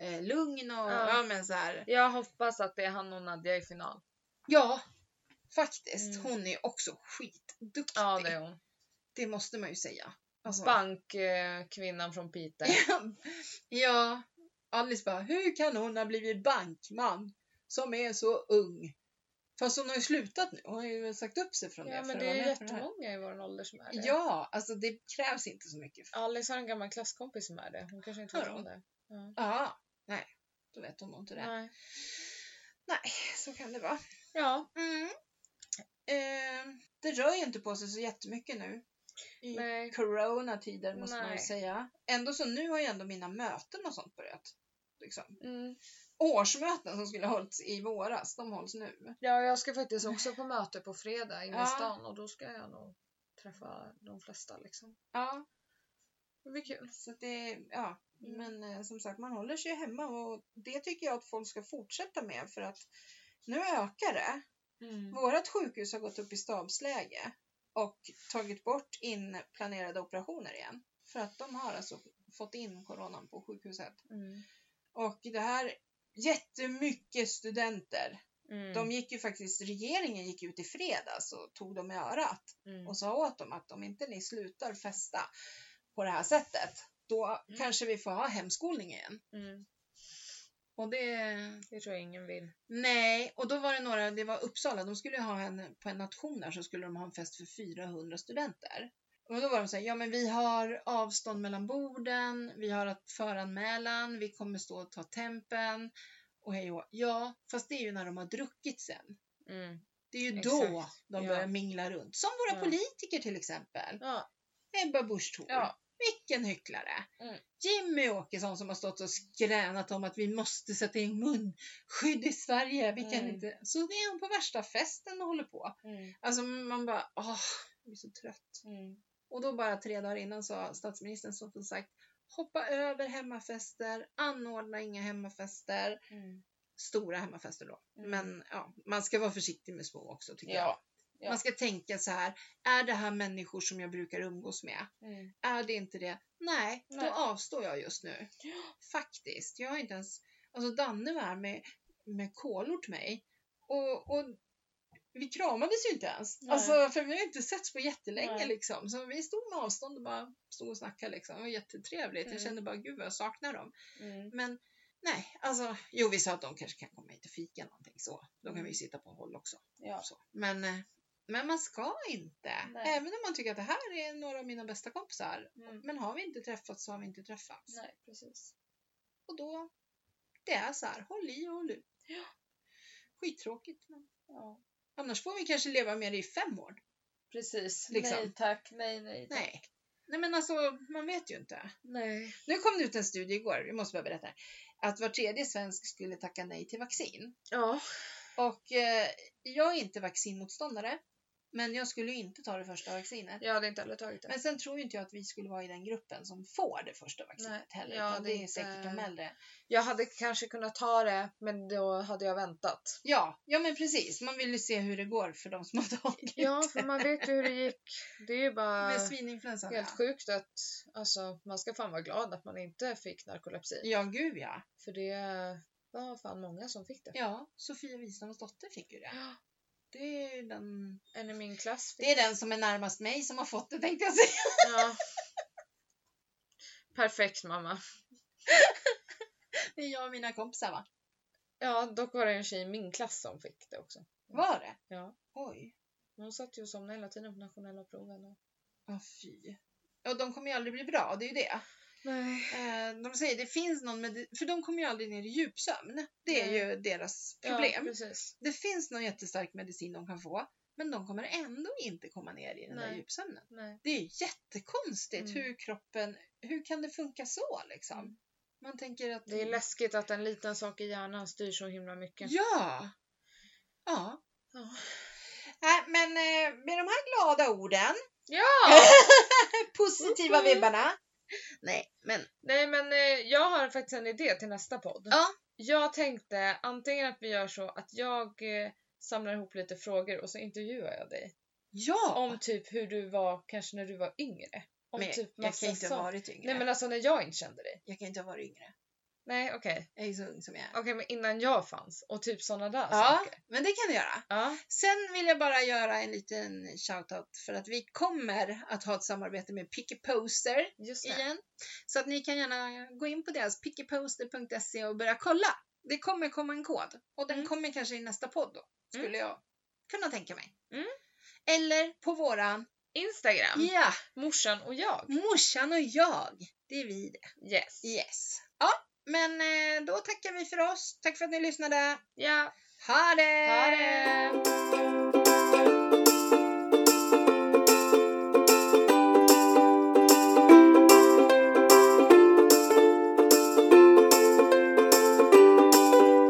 Speaker 1: eh, lugn och ja.
Speaker 2: Ja.
Speaker 1: men så här.
Speaker 2: Jag hoppas att det är han och Nadja i final.
Speaker 1: Ja, faktiskt.
Speaker 2: Mm.
Speaker 1: Hon är också skitduktig.
Speaker 2: Ja, det är hon.
Speaker 1: Det måste man ju säga. Alltså,
Speaker 2: Bankkvinnan från Piteå.
Speaker 1: ja, Alice bara, hur kan hon ha blivit bankman som är så ung? Fast hon har ju slutat nu. Hon har ju sagt upp sig från
Speaker 2: Ja,
Speaker 1: det.
Speaker 2: men
Speaker 1: att
Speaker 2: det
Speaker 1: vara
Speaker 2: är
Speaker 1: med på det här.
Speaker 2: jättemånga i vår ålder som är det.
Speaker 1: Ja, alltså det krävs inte så mycket. för-
Speaker 2: Alice har en gammal klasskompis som är det. Hon kanske inte
Speaker 1: Har
Speaker 2: vet om
Speaker 1: hon?
Speaker 2: det.
Speaker 1: Ja, nej. Då vet hon nog inte det.
Speaker 2: Nej.
Speaker 1: Så kan det vara. Mm.
Speaker 2: Ja,
Speaker 1: Eh, det rör ju inte på sig så jättemycket nu. I
Speaker 2: nej.
Speaker 1: coronatider måste man ju
Speaker 2: Nej.
Speaker 1: säga. Ändå så nu har ju ändå mina möten och sånt börjat. Liksom.
Speaker 2: Mm.
Speaker 1: Årsmöten som skulle ha hållits i våras, de hålls nu.
Speaker 2: Ja, jag ska faktiskt också på möte på fredag inne
Speaker 1: Ja.
Speaker 2: i stan och då ska jag nog träffa de flesta liksom.
Speaker 1: Ja,
Speaker 2: Det blir kul.
Speaker 1: så att det, ja.
Speaker 2: Mm.
Speaker 1: Men eh, som sagt, man håller sig hemma och det tycker jag att folk ska fortsätta med för att nu ökar det.
Speaker 2: Mm,
Speaker 1: Vårt sjukhus har gått upp i stabsläge och tagit bort inplanerade operationer igen. För att de har alltså fått in coronan på sjukhuset.
Speaker 2: Mm.
Speaker 1: Och det här, jättemycket studenter.
Speaker 2: Mm.
Speaker 1: De gick ju faktiskt, regeringen gick ut i fredags och tog dem i örat
Speaker 2: Mm.
Speaker 1: och sa åt dem att om inte ni slutar festa på det här sättet, då
Speaker 2: Mm.
Speaker 1: kanske vi får ha hemskolning igen.
Speaker 2: Mm.
Speaker 1: Och det,
Speaker 2: Det tror jag ingen vill.
Speaker 1: Nej, och då var det några, det var Uppsala, de skulle ju ha en, på en nation där så skulle de ha en fest för 400 studenter. Och då var de så här, ja men vi har avstånd mellan borden, vi har att föranmälan, vi kommer stå och ta tempen och hej och hå." Ja, fast det är ju när de har druckit sen.
Speaker 2: Mm.
Speaker 1: Det är ju då
Speaker 2: Exakt,
Speaker 1: de
Speaker 2: ja.
Speaker 1: börjar mingla runt. Som våra
Speaker 2: Ja.
Speaker 1: politiker till exempel.
Speaker 2: Ja.
Speaker 1: Ebba Busch Thor.
Speaker 2: Ja.
Speaker 1: Vilken hycklare!
Speaker 2: Mm.
Speaker 1: Jimmy Åkesson som har stått och skränat om att vi måste sätta in munskydd i Sverige. Vi kan
Speaker 2: Mm.
Speaker 1: inte... Så det är hon på värsta festen och håller på.
Speaker 2: Mm.
Speaker 1: Alltså man bara, åh, jag är så trött.
Speaker 2: Mm.
Speaker 1: Och då bara tre dagar innan så har statsministern stått och sagt hoppa över hemmafester, anordna inga hemmafester.
Speaker 2: Mm.
Speaker 1: Stora hemmafester då.
Speaker 2: Mm.
Speaker 1: Men ja, man ska vara försiktig med små också tycker jag.
Speaker 2: Ja. ja.
Speaker 1: Man ska tänka så här, är det här människor som jag brukar umgås med?
Speaker 2: Mm.
Speaker 1: Är det inte det? Nej, då
Speaker 2: Nej.
Speaker 1: avstår jag just nu. Faktiskt. Jag har inte ens... Alltså Danne var här med, med kolor till mig. Och, och vi kramades ju inte ens.
Speaker 3: Nej.
Speaker 1: Alltså, för vi har inte setts på jättelänge
Speaker 3: Nej.
Speaker 1: liksom. Så vi stod med avstånd och bara stod och snackade liksom. Det var jättetrevligt. Jag
Speaker 2: Mm.
Speaker 1: kände bara, gud vad jag saknar dem.
Speaker 2: Mm.
Speaker 1: Men nej, alltså. Jo, vi sa att de kanske kan komma hit och fika någonting så. Då
Speaker 3: Mm.
Speaker 1: kan vi ju sitta på håll också.
Speaker 3: Ja.
Speaker 1: Så. Men, eh, men man ska inte.
Speaker 3: Nej.
Speaker 1: Även om man tycker att det här är några av mina bästa kompisar.
Speaker 2: Mm.
Speaker 1: Men har vi inte träffats så har vi inte träffats.
Speaker 3: Nej, precis.
Speaker 1: Och då, det är så här, håll i och håll ut. Skittråkigt. Men
Speaker 3: Ja.
Speaker 1: annars får vi kanske leva med det i fem år.
Speaker 3: Precis.
Speaker 1: Liksom.
Speaker 3: Nej tack, nej nej tack.
Speaker 1: Nej. Nej men alltså, man vet ju inte.
Speaker 2: Nej.
Speaker 1: Nu kom det ut en studie igår, vi måste bara berätta. här, Att var tredje svensk skulle tacka nej till vaccin.
Speaker 2: Ja.
Speaker 1: Och eh, jag är inte vaccinmotståndare. Men jag skulle ju inte ta det första vaccinet.
Speaker 2: Jag hade inte heller tagit det.
Speaker 1: Men sen tror ju inte jag att vi skulle vara i den gruppen som får det första vaccinet
Speaker 2: Nej,
Speaker 1: heller.
Speaker 2: ja,
Speaker 1: utan
Speaker 2: det
Speaker 1: det
Speaker 2: är
Speaker 1: är
Speaker 2: inte-
Speaker 1: säkert de äldre.
Speaker 2: Jag hade kanske kunnat ta det, men då hade jag väntat.
Speaker 1: Ja, ja men precis. Man vill ju se hur det går för de som har tagit
Speaker 2: Ja, för man vet ju hur det gick. Det är ju bara
Speaker 1: med svininfluensan.
Speaker 2: helt
Speaker 1: ja.
Speaker 2: sjukt att alltså, man ska fan vara glad att man inte fick narkolepsi.
Speaker 1: Ja, gud ja.
Speaker 2: För det var fan många som fick det.
Speaker 1: Ja, Sofia Wisnams dotter fick ju det.
Speaker 2: Ja.
Speaker 1: Det är, ju den...
Speaker 2: En i min klass fick
Speaker 1: det är den som är närmast mig som har fått det tänkte jag säga.
Speaker 2: Ja. Perfekt mamma.
Speaker 1: Det är jag och mina kompisar va?
Speaker 2: Ja, dock var det en tjej i min klass som fick det också.
Speaker 1: Var det?
Speaker 2: Ja.
Speaker 1: Oj.
Speaker 2: Hon satt ju och somnade hela tiden på nationella proven. Och...
Speaker 1: Ja, fy. Och de kommer ju aldrig bli bra, det är ju det.
Speaker 2: Nej.
Speaker 1: Eh, De säger det finns någon med... För de kommer ju aldrig ner i djupsömn. Det är
Speaker 2: Nej.
Speaker 1: ju deras
Speaker 2: Ja,
Speaker 1: problem.
Speaker 2: precis.
Speaker 1: det finns någon jättestark medicin de kan få, men de kommer ändå inte komma ner i den där
Speaker 2: Nej.
Speaker 1: djupsömnen.
Speaker 2: Nej.
Speaker 1: Det är ju jättekonstigt
Speaker 2: Mm.
Speaker 1: hur kroppen, hur kan det funka så liksom?
Speaker 2: Mm.
Speaker 1: Man tänker att...
Speaker 2: Det är läskigt att en liten sak i hjärnan styr så himla mycket.
Speaker 1: Ja! Ja.
Speaker 2: Ja.
Speaker 1: Nej, men eh, med de här glada orden,
Speaker 2: Ja!
Speaker 1: positiva
Speaker 2: Mhm.
Speaker 1: vibbarna. Nej, men
Speaker 2: Nej men eh, jag har faktiskt en idé till nästa podd.
Speaker 1: Ja.
Speaker 2: Jag tänkte antingen att vi gör så att jag eh, samlar ihop lite frågor och så intervjuar jag dig.
Speaker 1: Ja!
Speaker 2: Om typ hur du var kanske när du var yngre. Om
Speaker 1: men
Speaker 2: typ
Speaker 1: jag
Speaker 2: massa
Speaker 1: kan inte ha
Speaker 2: sånt.
Speaker 1: varit yngre.
Speaker 2: Nej men alltså när jag inte kände dig.
Speaker 1: Jag kan inte ha varit yngre.
Speaker 2: Nej okej.
Speaker 1: Jag är så ung som jag är.
Speaker 2: Okej men innan jag fanns och typ sådana där
Speaker 1: Ja,
Speaker 2: saker.
Speaker 1: men det kan du göra.
Speaker 2: Ja.
Speaker 1: Sen vill jag bara göra en liten shoutout för att vi kommer att ha ett samarbete med Picky Poster
Speaker 2: Just det.
Speaker 1: igen. Så att ni kan gärna gå in på deras pickyposter.se och börja kolla. Det kommer komma en kod och den
Speaker 2: Mm.
Speaker 1: kommer kanske i nästa podd då, skulle
Speaker 2: Mm.
Speaker 1: jag kunna tänka mig.
Speaker 2: Mm.
Speaker 1: Eller på våran,
Speaker 2: Instagram.
Speaker 1: ja,
Speaker 2: Morsan och jag.
Speaker 1: morsan och jag. Det är vi det.
Speaker 2: Yes.
Speaker 1: Yes. Ja, men eh, då tackar vi för oss. Tack för att ni lyssnade.
Speaker 2: Ja.
Speaker 1: Ha det!
Speaker 2: Ha det!